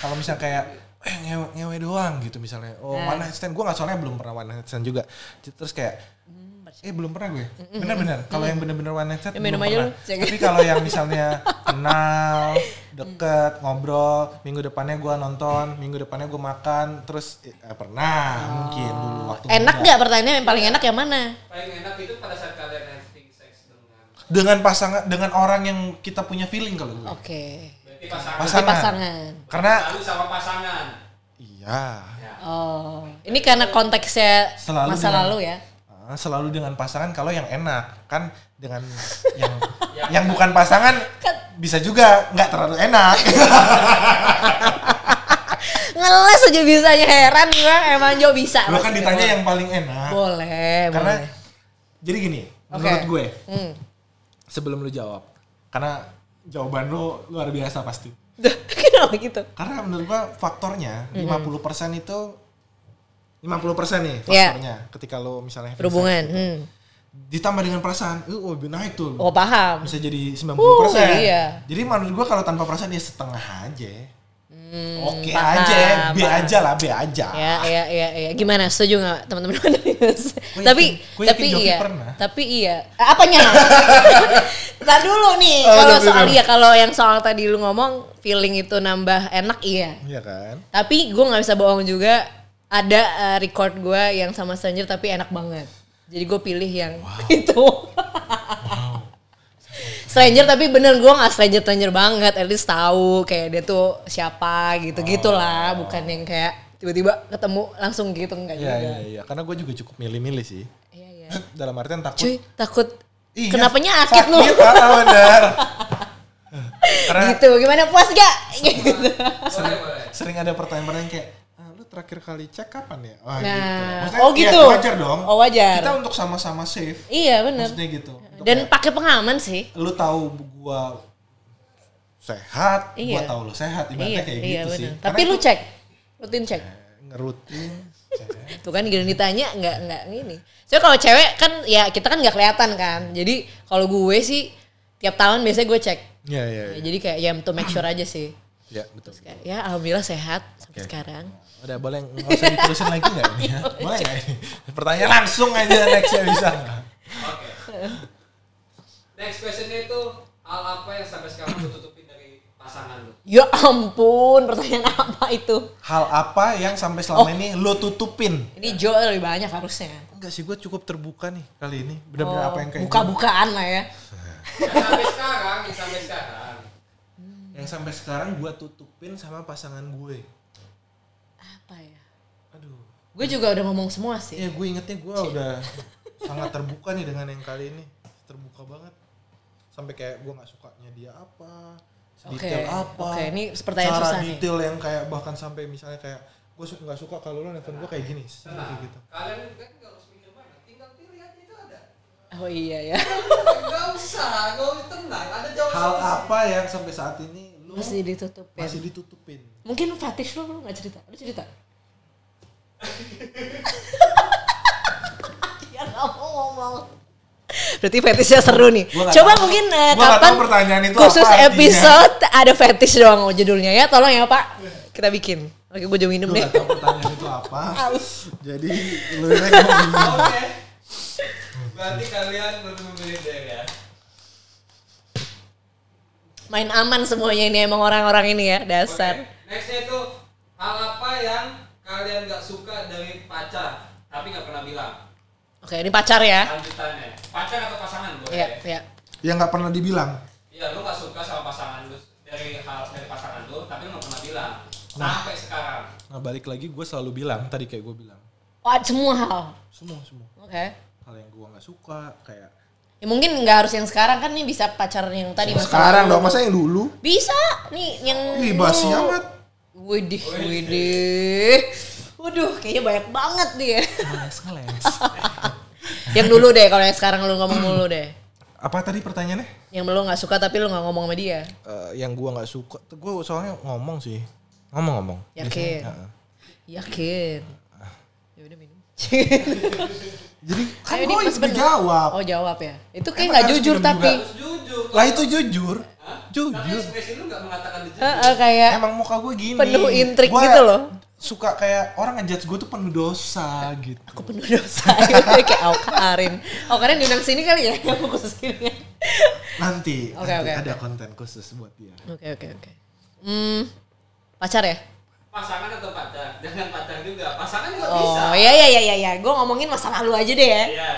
Kalau misalnya kayak eh ngewe, ngewe doang gitu misalnya. Oh,
Hmm.
one night stand gue enggak soalnya belum pernah one night stand juga. Terus kayak
Hmm,
Eh belum pernah gue. Bener-bener. Kalau yang bener-bener one night stand
Ya,
belum
hmm, minum aja
pernah.
lu, Hmm. cek.
Tapi kalau yang misalnya kenal, deket, ngobrol, minggu depannya gue nonton, minggu depannya gue makan, terus eh, pernah mungkin dulu waktu
Enak
muda.
nggak pertanyaan yang paling enak yang mana?
paling enak itu pada saat kalian having sex dengan
dengan pasangan dengan orang yang kita punya feeling kalau gue.
Oke.
berarti pasangan
Pasangan.
Pasangan.
pasangan.
Karena
selalu sama pasangan
iya
Oh, ini karena konteksnya
Selalu
masa
dengan-
lalu ya?
ah, selalu dengan pasangan kalau yang enak kan dengan yang yang bukan pasangan bisa juga nggak terlalu enak.
Ngeles aja bisanya heran gua emang Jo bisa.
Lo kan
Maksudnya.
ditanya yang paling enak.
Iya, Boleh,
Karena
boleh.
jadi gini
Oke.
menurut gue
Hmm.
sebelum lu jawab karena jawaban lu luar biasa pasti.
Duh, Kenapa gitu?
Karena menurut gua faktornya 50% itu 50% nih
Iya.
faktornya ketika lo misalnya having sex
Berhubungan.
gitu.
Hmm.
ditambah dengan perasaan, eh, oh lebih naik tuh.
Oh, paham.
bisa jadi 90%.
Uh, iya.
Jadi menurut gua kalau tanpa perasaan ya setengah aja.
Hmm,
Oke
paham,
aja, ya. B
paham.
aja lah, B aja.
Ya, ya, ya, ya. Gimana? Setuju nggak teman-teman? tapi,
gua
tapi
yakin Jovi
iya,
pernah.
tapi iya. Eh, Apanya? Ntar dulu nih.
Oh,
Kalau
tapi
soal
dulu.
iya, kalau yang soal tadi lu ngomong feeling itu nambah enak iya.
Iya kan?
Tapi gue nggak bisa bohong juga. Ada eh, record gue yang sama stranger tapi enak banget. Jadi gue pilih yang itu. stranger tapi bener gue nggak stranger stranger banget. At least tahu kayak dia tuh siapa gitu gitulah. Bukan yang kayak tiba-tiba ketemu langsung gitu enggak
Oh. Iya,
juga.
iya, iya. Karena gua juga cukup milih-milih sih.
Iya iya.
Dalam artian takut.
Cuy takut.
Iya,
Kenapa nyakit lu?
Sakit, ah, bener. Karena
gitu. Gimana puas gak? Gitu.
boleh boleh
sering ada pertanyaan-pertanyaan kayak, "Ah, lu terakhir kali cek kapan ya? Oh,
Nah,
Maksudnya,
oh
iya,
gitu.
wajar dong.
Oh, wajar.
Kita untuk sama-sama safe.
iya bener.
Maksudnya gitu. Itu
Dan pakai pengaman sih.
lu tahu gua sehat, gua
Iya.
tahu lu sehat, ibaratnya
Iya,
kayak
iya
gitu sih.
benar.
Karena
Tapi lu
itu
cek, rutin cek.
ngerutin. cewek.
Tuh kan gini ditanya nggak nggak ini. Soalnya kalau cewek kan ya kita kan nggak kelihatan kan. Jadi kalau gue sih tiap tahun biasanya gue cek.
Iya, iya,
Ya,
iya.
jadi kayak ya to make sure aja sih.
Ya, betul.
Kayak, Ya alhamdulillah sehat sampai
Oke.
sekarang.
Udah boleh nggak usah diterusin lagi nggak
Iya,
ini? ya? Boleh nggak ini? Pertanyaan langsung aja next ya bisa. nggak?
Oke. Next questionnya itu hal apa yang sampai sekarang lu tutupin dari pasangan lu?
Ya ampun, pertanyaan apa itu?
Hal apa yang sampai selama
Oh.
ini lu tutupin?
Ini Joel lebih banyak harusnya.
Enggak sih, gue cukup terbuka nih kali ini. Benar-benar
Oh,
apa yang kayak
Buka-bukaan lah ya.
Yang sampai sekarang, yang sampai sekarang.
yang sampai sekarang gue tutupin sama pasangan gue.
Apa ya?
Aduh.
Gue juga udah ngomong semua sih.
Iya, gue ingetnya gue udah sangat terbuka nih dengan yang kali ini. Terbuka banget. Sampai kayak gue nggak sukanya dia apa, detail apa.
Oke, ini pertanyaan
cara
susah nih.
detail yang kayak bahkan sampai misalnya kayak gue su- nggak suka kalau lo nelfon gue kayak gini, sampai kayak gitu.
Kalian kan nggak harus mikir banyak, tinggal pilih aja itu ada.
Oh iya ya.
Nggak usah, nggak usah tenang, ada jawaban.
Hal
sendiri.
apa yang sampai saat ini lo
Masih ya.
masih,
ditutupin.
ditutupin?
Mungkin fetish lo lo nggak cerita. Lo cerita? Dia Ya nggak mau ngomong. Berarti fetishnya seru nih.
Gua nggak
Coba
tahu.
mungkin eh,
Gua nggak
kapan
tahu pertanyaan itu
khusus
apa artinya.
episode ada fetish doang judulnya ya. Tolong ya Pak. Kita bikin. Oke, gue jauh minum
Gue
deh.
nggak tahu pertanyaan itu apa. Jadi lo ini gua bingung.
Oke. Berarti kalian belum memilih deh ya.
Main aman semuanya ini emang orang-orang ini ya
Oke,
dasar.
Nextnya itu hal apa yang kalian nggak suka dari pacar tapi nggak pernah bilang.
Oke, ini pacar ya.
Lanjutannya, pacar atau pasangan boleh.
Iya, iya.
yang nggak pernah dibilang.
Iya, lu gak suka sama pasangan lu dari hal dari pasangan lu, tapi lu gak pernah bilang sampai sekarang.
Nah balik lagi gue selalu bilang tadi kayak gue bilang
Oh, semua hal.
semua semua
Oke.
hal yang gue nggak suka kayak
Ya mungkin nggak harus yang sekarang kan nih bisa pacar yang tadi masa lalu.
yang dulu
Bisa nih yang
Ih, basi amat.
Widih, widih. Waduh, kayaknya banyak banget dia. yang dulu deh, kalau yang sekarang lu ngomong mulu deh.
apa tadi pertanyaannya
Yang lu nggak suka tapi lu nggak ngomong sama dia.
Eh, yang gue nggak suka gue soalnya ngomong sih ngomong-ngomong
Yakin?
biasanya. Heeh.
Yakin. Ya udah minum.
jadi kan
Ayo,
gue
Dim,
yang
sebentar.
jawab
Oh jawab ya. Itu kayak
Emang
nggak
harus
jujur
minum
tapi.
juga?
Terus jujur,
lah itu jujur
tapi
jujur
ekspresi lu gak mengatakan di
Eh, eh, kayak
emang muka gue gini
Penuh intrik
Gua
gitu loh.
suka kayak orang ngejudge gue tuh penuh dosa gitu
aku penuh dosa. gitu, kayak Auka Arin. Auka Arin diundang sini kali ya. Yang khusus gini.
nanti,
Oke,
nanti
oke,
ada konten khusus buat dia
Oke oke oke. Hmm, pacar ya?
pasangan atau pacar, jangan pacar juga, pasangan juga bisa.
Oh ya ya ya ya ya. Gue ngomongin masa lalu aja deh ya.
Iya.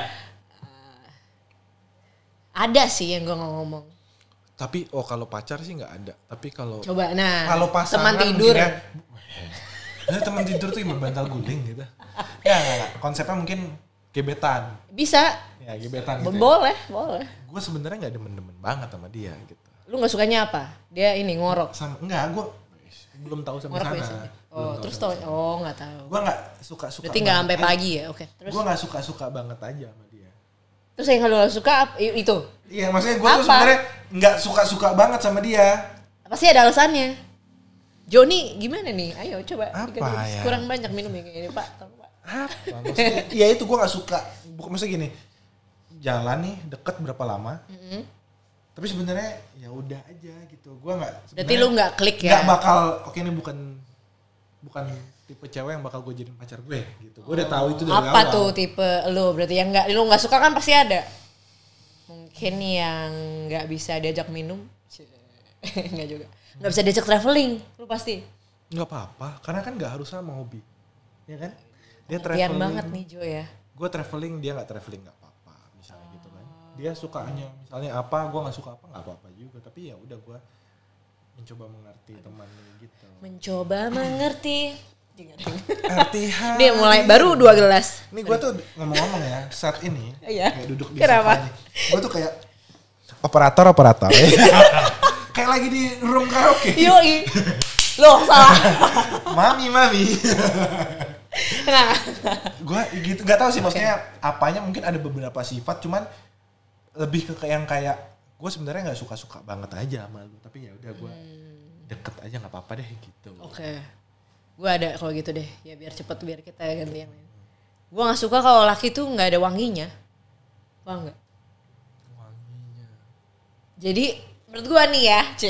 Ada sih yang gue nggak ngomong.
tapi oh kalau pacar sih nggak ada tapi kalau
Coba nah.
kalau pasangan
teman tidur. ya.
mungkin ya, Maksudnya teman tidur tuh cuma bantal guling gitu ya nggak, nggak. konsepnya mungkin gebetan
Bisa.
ya gebetan gitu ya.
Boleh, boleh.
gue sebenarnya nggak demen-demen banget sama dia gitu
Lu nggak sukanya apa? Dia ini ngorok.
sama enggak gue belum tahu sampai
Ngorok
sana
biasanya. Oh, terus tau? Oh, nggak tahu.
gue nggak suka suka
Berarti nggak sampai pagi ya? Oke. Terus,
gue nggak suka suka banget aja sama dia
terus yang lu nggak suka ap- i- itu?
iya maksudnya gue tuh
Apa?
sebenarnya nggak suka suka banget sama dia
Pasti ada alasannya. Joni gimana nih? Ayo coba.
Apa
dikasih-
ya?
Kurang banyak minum ya kayaknya Pak. Tolong, Pak.
apa maksudnya ya itu gue nggak suka Buk- maksudnya gini jalan nih deket berapa lama tapi sebenarnya ya udah aja gitu gue nggak
Berarti
sebenarnya
lu nggak klik ya?
nggak bakal oke ini bukan bukan tipe cewek yang bakal gue jadiin pacar gue gitu gue udah tahu itu dari
apa
awal
tuh tipe lu berarti yang nggak lu nggak suka kan pasti ada mungkin yang nggak bisa diajak minum Cie. nggak juga nggak bisa diajak traveling lu pasti
nggak apa-apa karena kan nggak harus sama hobi ya kan dia
Perhatian
traveling
banget nih Jo ya
gue traveling dia nggak traveling nggak apa-apa misalnya gitu kan dia sukanya misalnya apa gue nggak suka apa nggak apa-apa juga tapi ya udah gue mencoba mengerti temannya gitu
mencoba mengerti
Arti hati.
dia mulai baru dua gelas
Ini gue tuh ngomong-ngomong ya saat ini
Iya.
kayak duduk di
Kenapa?
Gue tuh kayak operator operator. kayak lagi di room karaoke.
yoi lo salah
mami mami.
nah
gue gitu nggak tahu sih maksudnya apanya mungkin ada beberapa sifat cuman lebih ke kayak yang kayak gue sebenarnya nggak suka suka banget aja sama lu tapi ya udah gue
Hmm.
deket aja nggak apa-apa deh gitu
Oke. Gue ada kalau gitu deh. Ya biar cepet biar kita ganti yang lain. Gue nggak suka kalau laki tuh nggak ada wanginya. Paham nggak? Jadi menurut gue nih ya, c,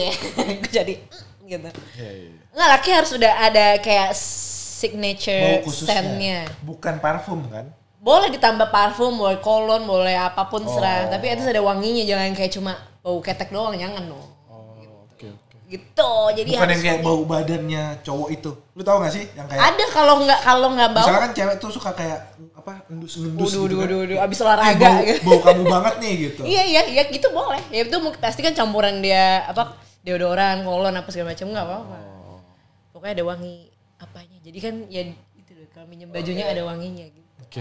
gue jadi mm, gitu.
Iya, iya, iya.
Nggak laki harus udah ada kayak signature
bau
scentnya.
khususnya bukan parfum kan
Boleh ditambah parfum, boleh kolon, boleh apapun
Oh.
serah. Tapi itu ada wanginya, jangan kayak cuma bau ketek doang, jangan dong.
oh oke oke
Gitu.
bukan
Jadi
yang
harus
kayak bau badannya cowok itu lu tau gak sih yang kayak
ada kalau nggak kalau nggak bau
Misalnya kan cewek tuh suka kayak apa ngendus ngendus
Waduh, waduh,
kan.
waduh, waduh, abis
Ih,
olahraga
bau,
gitu.
bau kamu banget nih gitu.
Iya iya iya gitu boleh. Ya itu mungkin- pasti kan campuran dia apa deodoran, kolon apa segala macam nggak apa-apa. Pokoknya ada wangi apanya. Jadi kan ya itu loh kalau minjem bajunya ada wanginya gitu.
Oke.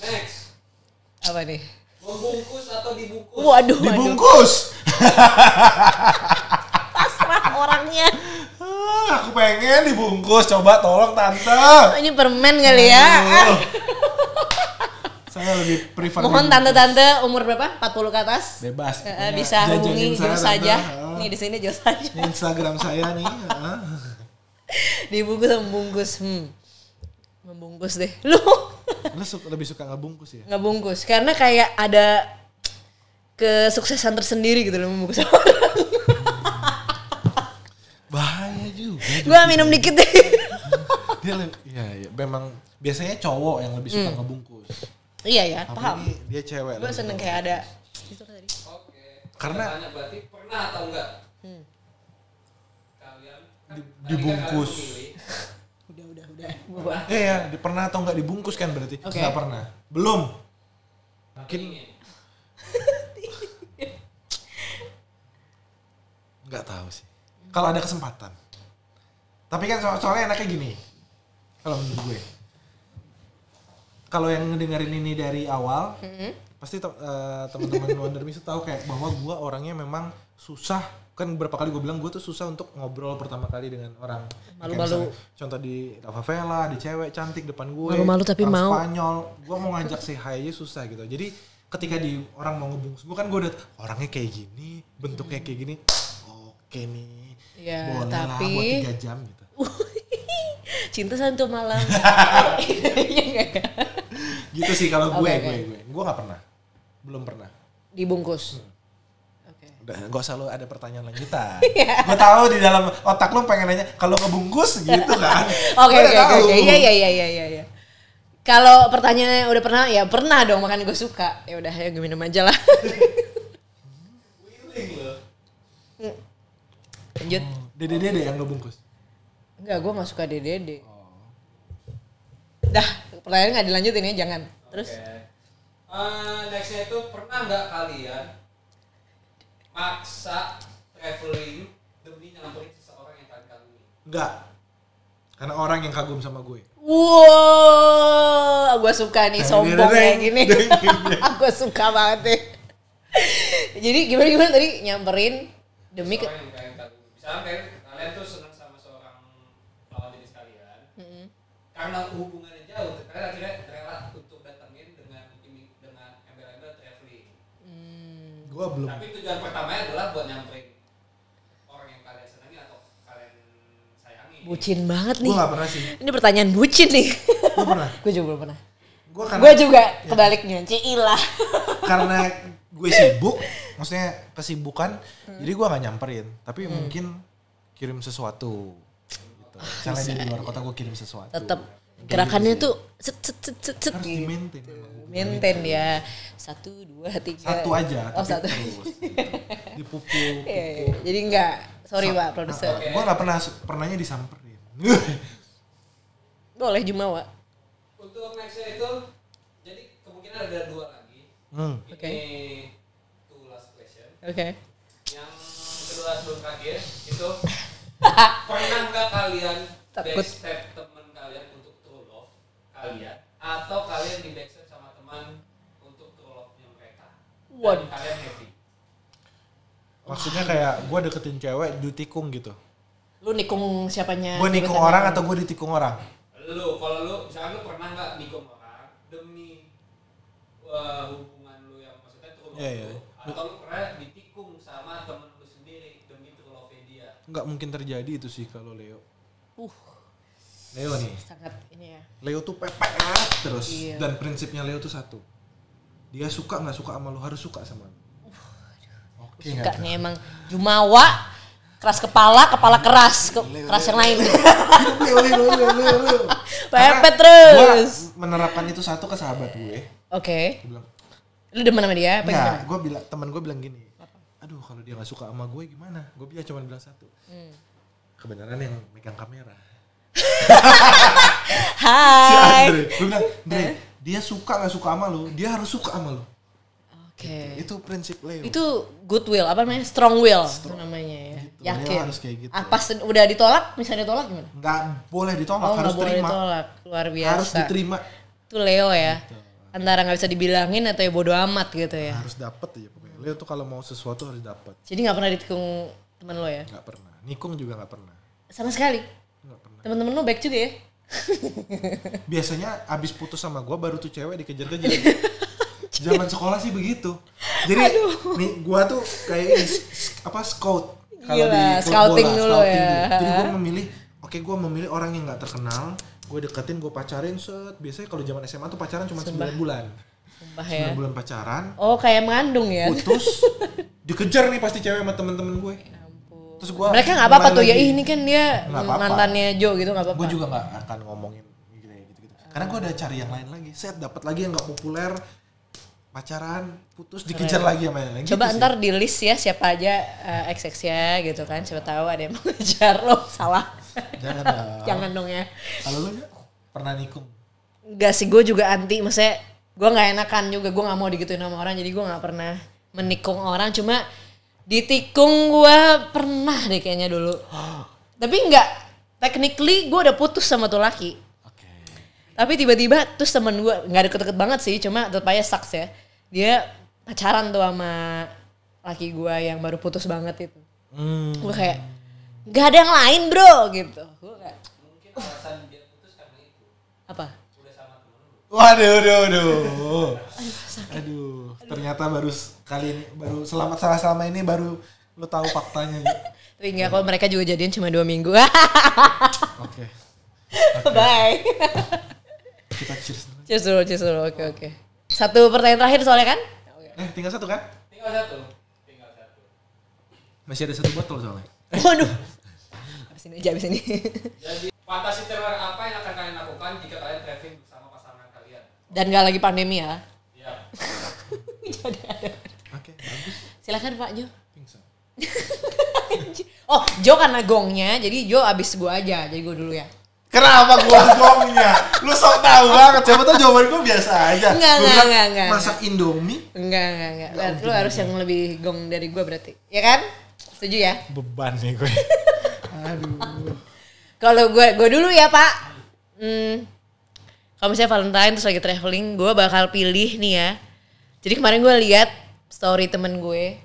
Next,
Apa nih?
membungkus atau dibungkus?
Waduh, waduh.
Dibungkus.
Pasrah orangnya.
Ah, aku pengen dibungkus. Coba tolong tante.
Oh, ini permen kali ya.
Aduh. Oh.
Ah,
saya lebih prefer dibungkus.
Mohon
Iya,
tante-tante umur berapa? 40 ke atas?
bebas.
Eh,
pokoknya.
bisa
Jajanin
hubungi
saya,
jauh
tante.
saja.
Ah.
Nih di sini jauh saja.
Ini Instagram saya nih. ah.
Dibungkus membungkus. Hmm. Membungkus deh. Lu
Lu suka, lebih suka ngebungkus ya?
nggak bungkus karena kayak ada kesuksesan tersendiri gitu loh membungkus orang.
Bahaya juga.
Gua minum dikit deh.
Dia lebih, ya, ya, memang biasanya cowok yang lebih suka ngebungkus.
iya ya,
Tapi
Hmm. paham.
ini dia cewek.
Gue
lebih
seneng
suka.
kayak ada itu kan tadi.
Oke.
Karena-
Saya tanya berarti pernah atau enggak?
Hmm.
Kalian kan
Di-
tadi
dibungkus.
kan kalian memilih.
Udah, udah, udah. Gua-
Iya, ya, di- pernah atau nggak dibungkus kan berarti?
Oke.
Nggak pernah. Belum.
Mungkin
Nggak tahu sih. Kalau ada kesempatan. Tapi kan so- soalnya enaknya gini. Kalau menurut gue. Kalau yang ngedengerin ini dari awal, pasti te- eh, teman-teman Wonder Miss tahu kayak bahwa gue orangnya memang susah kan berapa kali gue bilang gue tuh susah untuk ngobrol pertama kali dengan orang Kayak misalnya,
Malu-malu.
contoh di La favela di cewek cantik depan gue
Malu-malu tapi
orang
mau.
Spanyol gue mau ngajak say hi aja susah gitu jadi ketika di orang mau ngebungkus gue kan gue udah orangnya kayak gini bentuknya kayak gini oke nih
Iya,
boleh
tapi- Uh.
lah buat tiga jam gitu
Cinta satu malam. Iya nggak ya?
gitu sih kalau gue
Oke, oke.
gue gue gue nggak pernah belum pernah
Dibungkus. Oke.
udah gak usah lu ada pertanyaan lanjutan
Iya.
gue tahu di dalam otak lu pengen nanya kalau ngebungkus gitu kan
Oke
Gua udah
oke oke,
tahu.
oke. Iya iya iya iya iya, iya. Kalau pertanyaannya udah pernah ya pernah dong makanya gue suka. Ya udah ya gue minum aja lah.
willing loh.
Lanjut.
dede dede yang ngebungkus
Enggak, gue gak suka DDD. Dah, pertanyaan gak dilanjutin ya, jangan. Terus,
Oke. Eh, nextnya itu pernah nggak kalian maksa traveling demi nyamperin seseorang yang kalian kagumi?
enggak karena orang yang kagum sama gue
wow, gue suka nih sombong kayak gini. gue suka banget deh. Jadi gimana gimana tadi nyamperin demi ke
Seseorang yang kalian kagumi. Misalnya kalian, kalian tuh senang sama seorang lawan jenis kalian, karena hubungannya jauh, kalian akhirnya rela untuk datengin dengan ini dengan embel-embel traveling.
gue belum
Tapi tujuan pertamanya adalah buat nyamperin orang yang kalian senangi atau kalian sayangi.
bucin banget
gue
nih.
gak pernah sih
Ini pertanyaan bucin nih.
Lu pernah?
gue juga belum pernah.
gue karena Iya.
Gue juga kebaliknya, ciilah.
karena gue sibuk maksudnya kesibukan
Hmm.
jadi gue gak nyamperin tapi mungkin kirim sesuatu gitu. misalnya dia di luar kota gue kirim sesuatu
Ah,
gitu.
Tetep gerakannya tuh set set set set, set
harus di
gitu.
maintain
Maintain ya. Satu, dua, tiga.
satu aja
Oh,
tapi
satu.
terus gitu. dipukul Ah,
Iya, iya. jadi enggak. Sorry, Pak, produser.
gue gak pernah pernahnya disamperin
Boleh Jumawa.
Untuk nextnya itu, jadi kemungkinan ada dua lagi.
hmm.
Oke.
Ini two last question.
Oke.
Yang kedua sebelum kaget itu pernah nggak kalian
Takut.
backstab teman kalian untuk true love kalian atau kalian di backstab sama teman untuk true love-nya mereka? Dan
Waduh.
kalian happy.
maksudnya kayak gue deketin cewek ditikung gitu
Lu nikung siapanya?
gue nikung
gebetan?
orang atau gue ditikung orang
Lu kalau lu misalkan lu pernah nggak nikung orang demi uh, hubungan lu lu
Iya, iya.
atau lu pernah ditikung sama temen lu sendiri demi tuh love dia
nggak mungkin terjadi itu sih kalau Leo
Uh,
Leo nih
sangat ini ya.
Leo tuh pepet terus
Iya.
dan prinsipnya Leo tuh satu dia suka nggak suka sama lu harus suka sama lu oke
Suka
nggak tuh?
nih emang jumawa, keras kepala, kepala keras, ke- keras yang lain.
Leo Leo Leo Leo, Leo.
Pepet
Gua
terus.
menerapkan itu satu ke sahabat gue Gue
Oke.
bilang
Lu demen sama dia apa gimana?
Enggak, gue bilang teman gue bilang gini. Aduh, kalau dia nggak suka sama gue gimana? Gue bisa cuma bilang satu.
Hmm.
Kebenaran yang megang kamera. Si
Hai. Eh?
Andre, gue bilang, Andre, dia suka nggak suka sama lo, dia harus suka sama lo.
Oke.
Itu prinsip Leo.
Eh. Itu goodwill apa namanya? Strong will itu namanya ya.
Gitu,
Yakin.
memang harus kayak gitu.
Apa sen- udah ditolak, misalnya ditolak gimana?
Nggak boleh ditolak,
Oh,
harus
nggak boleh
terima.
ditolak. Luar biasa.
Harus diterima,
Itu Leo ya. Antara nggak bisa dibilangin atau ya bodo amat gitu ya.
harus dapet ya pokoknya. Leo tuh kalau mau sesuatu harus dapet.
Jadi nggak pernah ditikung temen lo ya?
Nggak pernah. Nikung juga nggak pernah.
Sama sekali.
Nggak pernah.
Temen-temen lo baik juga ya?
Biasanya abis putus sama gue baru tuh cewek dikejar-kejar. Zaman sekolah sih begitu. Jadi nih gue tuh kayak ini, s- s- apa scout kalau di
Gila,
klub
scouting
bola,
dulu
scouting
ya.
dulu. Jadi gue memilih, oke gue memilih orang yang nggak terkenal, gue deketin, gue pacarin set. Biasanya kalau zaman SMA tuh pacaran cuma 9 bulan.
Sumpah
9
ya.
bulan pacaran,
Oh kayak mengandung ya?
putus, dikejar nih pasti cewek sama temen-temen gue. Terus gue
Mereka nggak apa-apa tuh ya ih, ini kan dia
Nggak apa-apa.
mantannya Joe gitu nggak Ah. apa-apa.
gue juga nggak akan ngomongin gitu gitu karena gue udah cari yang lain lagi set dapat lagi yang nggak populer pacaran putus dikejar lagi sama yang lain
Coba
Gitu sih.
ntar di list ya siapa aja eh, ex ex ya gitu kan siapa tahu ada yang mau ngejar lo salah.
jangan dong.
Jangan dong ya.
kalau lu Nya, pernah nikung
Enggak sih gue juga anti maksudnya gue nggak enakan juga gue nggak mau digituin sama orang jadi gue nggak pernah menikung orang cuma ditikung gue pernah deh kayaknya dulu. Tapi nggak technically gue udah putus sama tuh laki.
oke
Tapi tiba-tiba terus temen gue nggak deket-deket banget sih, cuma tetep aja sucks ya. Dia pacaran tuh sama laki gue yang baru putus banget itu.
hmm.
Gue kayak nggak ada yang lain bro gitu. Gue kayak
mungkin alasan dia putus karena itu
apa?
udah sama temen lu
waduh aduh aduh aduh ternyata baru s- kali ini baru selamat salah selama ini baru lu tahu faktanya Nya.
Tapi nggak kalau mereka juga jadian cuma dua minggu.
oke
Bye.
kita cheers dulu.
cheers dulu, cheers dulu. Oke oke. Satu pertanyaan terakhir soalnya kan?
eh tinggal satu kan
tinggal satu tinggal satu
masih ada satu botol soalnya
Waduh. Abis ini aja, abis ini.
jadi fantasi teror apa yang akan kalian lakukan jika kalian traveling bersama pasangan kalian
Dan nggak lagi pandemi ya.
ya
Jadi ada.
oke bagus
Silakan Pak Jo.
pingsan
Oh, Jo karena gongnya, jadi Jo abis gua aja, jadi gua dulu ya.
Kenapa gua gongnya? Lu sok tahu banget. Siapa tahu jawaban gua biasa aja.
Enggak,
Gua
enggak,
bilang,
enggak, enggak,
Masak Indomie
Enggak, enggak, enggak. Lu harus yang lebih gong dari gua berarti. Ya kan? Setuju ya?
beban nih gue. Aduh.
Kalau gua gua dulu ya, Pak. Hmm. Kalau misalnya Valentine terus lagi traveling, gua bakal pilih nih ya. Jadi kemarin gua lihat story temen gue.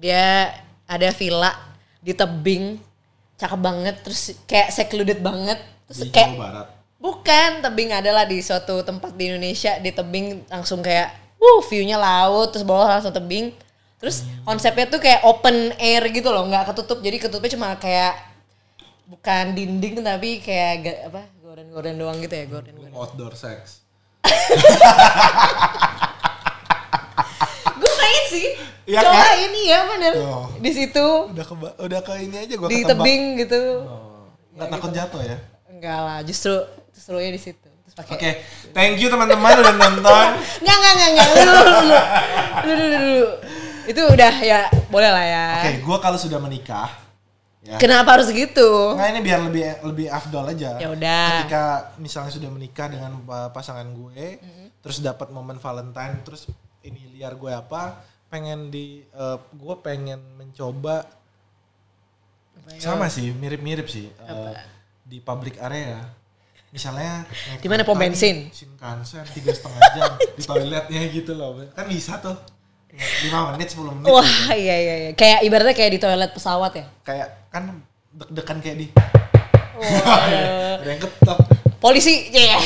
Dia ada villa di tebing. Cakep banget, terus kayak secluded banget. Terus
Di
kayak
Jawa Barat.
Bukan, tebing adalah di suatu tempat di Indonesia di tebing langsung kayak uh view-nya laut terus bawah langsung tebing. Terus
Hmm.
konsepnya tuh kayak open air gitu loh, nggak ketutup. Jadi ketutupnya cuma kayak bukan dinding tapi kayak ga- apa? gorden-gorden doang gitu ya,
Lu
gorden-gorden.
mau outdoor sex.
Gue main sih.
Hmm. Iya
Coba
kan?
ini ya bener.
Tuh.
Di situ
Udah ke udah ke ini aja gua
di
ketebak.
tebing gitu.
Oh, Nggak takut jatuh ya.
Enggak lah, justru justru ya di situ. Terus pakai
Oke, thank you teman-teman udah nonton.
Nggak, nggak, nggak, nggak. Dulu, dulu, dulu. Dulu, dulu, dulu. Itu udah ya, boleh lah ya.
Oke, gua kalau sudah menikah ya.
Kenapa harus gitu?
Nah ini biar lebih lebih afdol aja.
Ya udah.
Ketika misalnya sudah menikah dengan uh, pasangan gue, terus dapat momen Valentine, terus ini liar gue apa? Pengen di, uh, gue pengen mencoba
ya?
sama sih, mirip-mirip sih uh, di public area. Misalnya naik
Di mana pom
kereta
bensin?
nih, Shinkansen tiga setengah jam di toiletnya gitu loh, kan bisa tuh lima menit 10 menit.
Wah, iya iya iya. Kayak ibaratnya kayak di toilet pesawat ya.
Kayak kan deg-degan kayak di
Wah,
ada yang ketok
polisi ya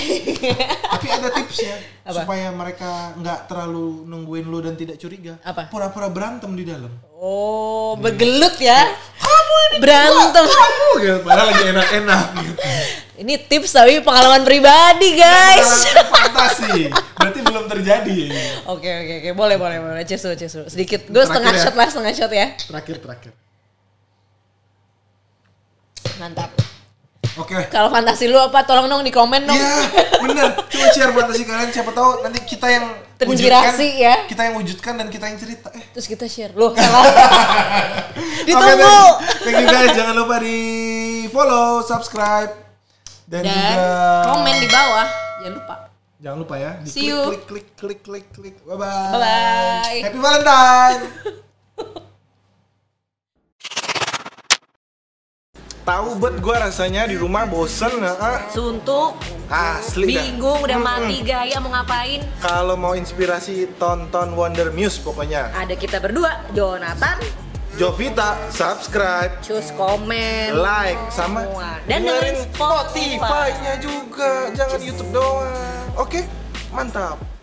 Tapi ada tipsnya
Apa?
supaya mereka nggak terlalu nungguin lu dan tidak curiga.
Apa?
Pura-pura berantem di dalam.
oh begelut ya kamu berantem
Kamu gitu, padahal lagi enak-enak gitu.
ini tips tapi pengalaman pribadi guys
Pengalaman Fantasi. Berarti belum terjadi.
Oke oke oke boleh boleh boleh cheers dulu cheers dulu sedikit gue setengah
Terakhir ya.
shot lah setengah shot ya
Terakhir terakhir.
mantap
Oke.
kalau fantasi lu apa tolong dong di komen dong
Iya, bener. Coba share fantasi kalian. Siapa tahu nanti kita yang
Terinspirasi
wujudkan,
ya.
Kita yang wujudkan dan kita yang cerita. Eh.
terus kita share loh salah
Oke,
ditunggu
thank- thank you guys. Jangan lupa di follow, subscribe, dan,
dan
juga
komen di bawah jangan lupa
Jangan lupa ya. Di
See
klik,
you.
klik klik klik klik klik. Bye bye.
Bye-bye.
Happy Valentine. Tahu bet gua rasanya di rumah bosen heeh.
Suntuk,
Asli dah.
bingung, udah mati gaya mau ngapain?
Kalau mau inspirasi tonton Wonder Muse pokoknya.
Ada kita berdua, Jonathan,
Jovita, subscribe,
cus komen,
like sama
Semua. Dan dengerin Spotify.
Spotify-nya juga, jangan YouTube doang. Oke, mantap.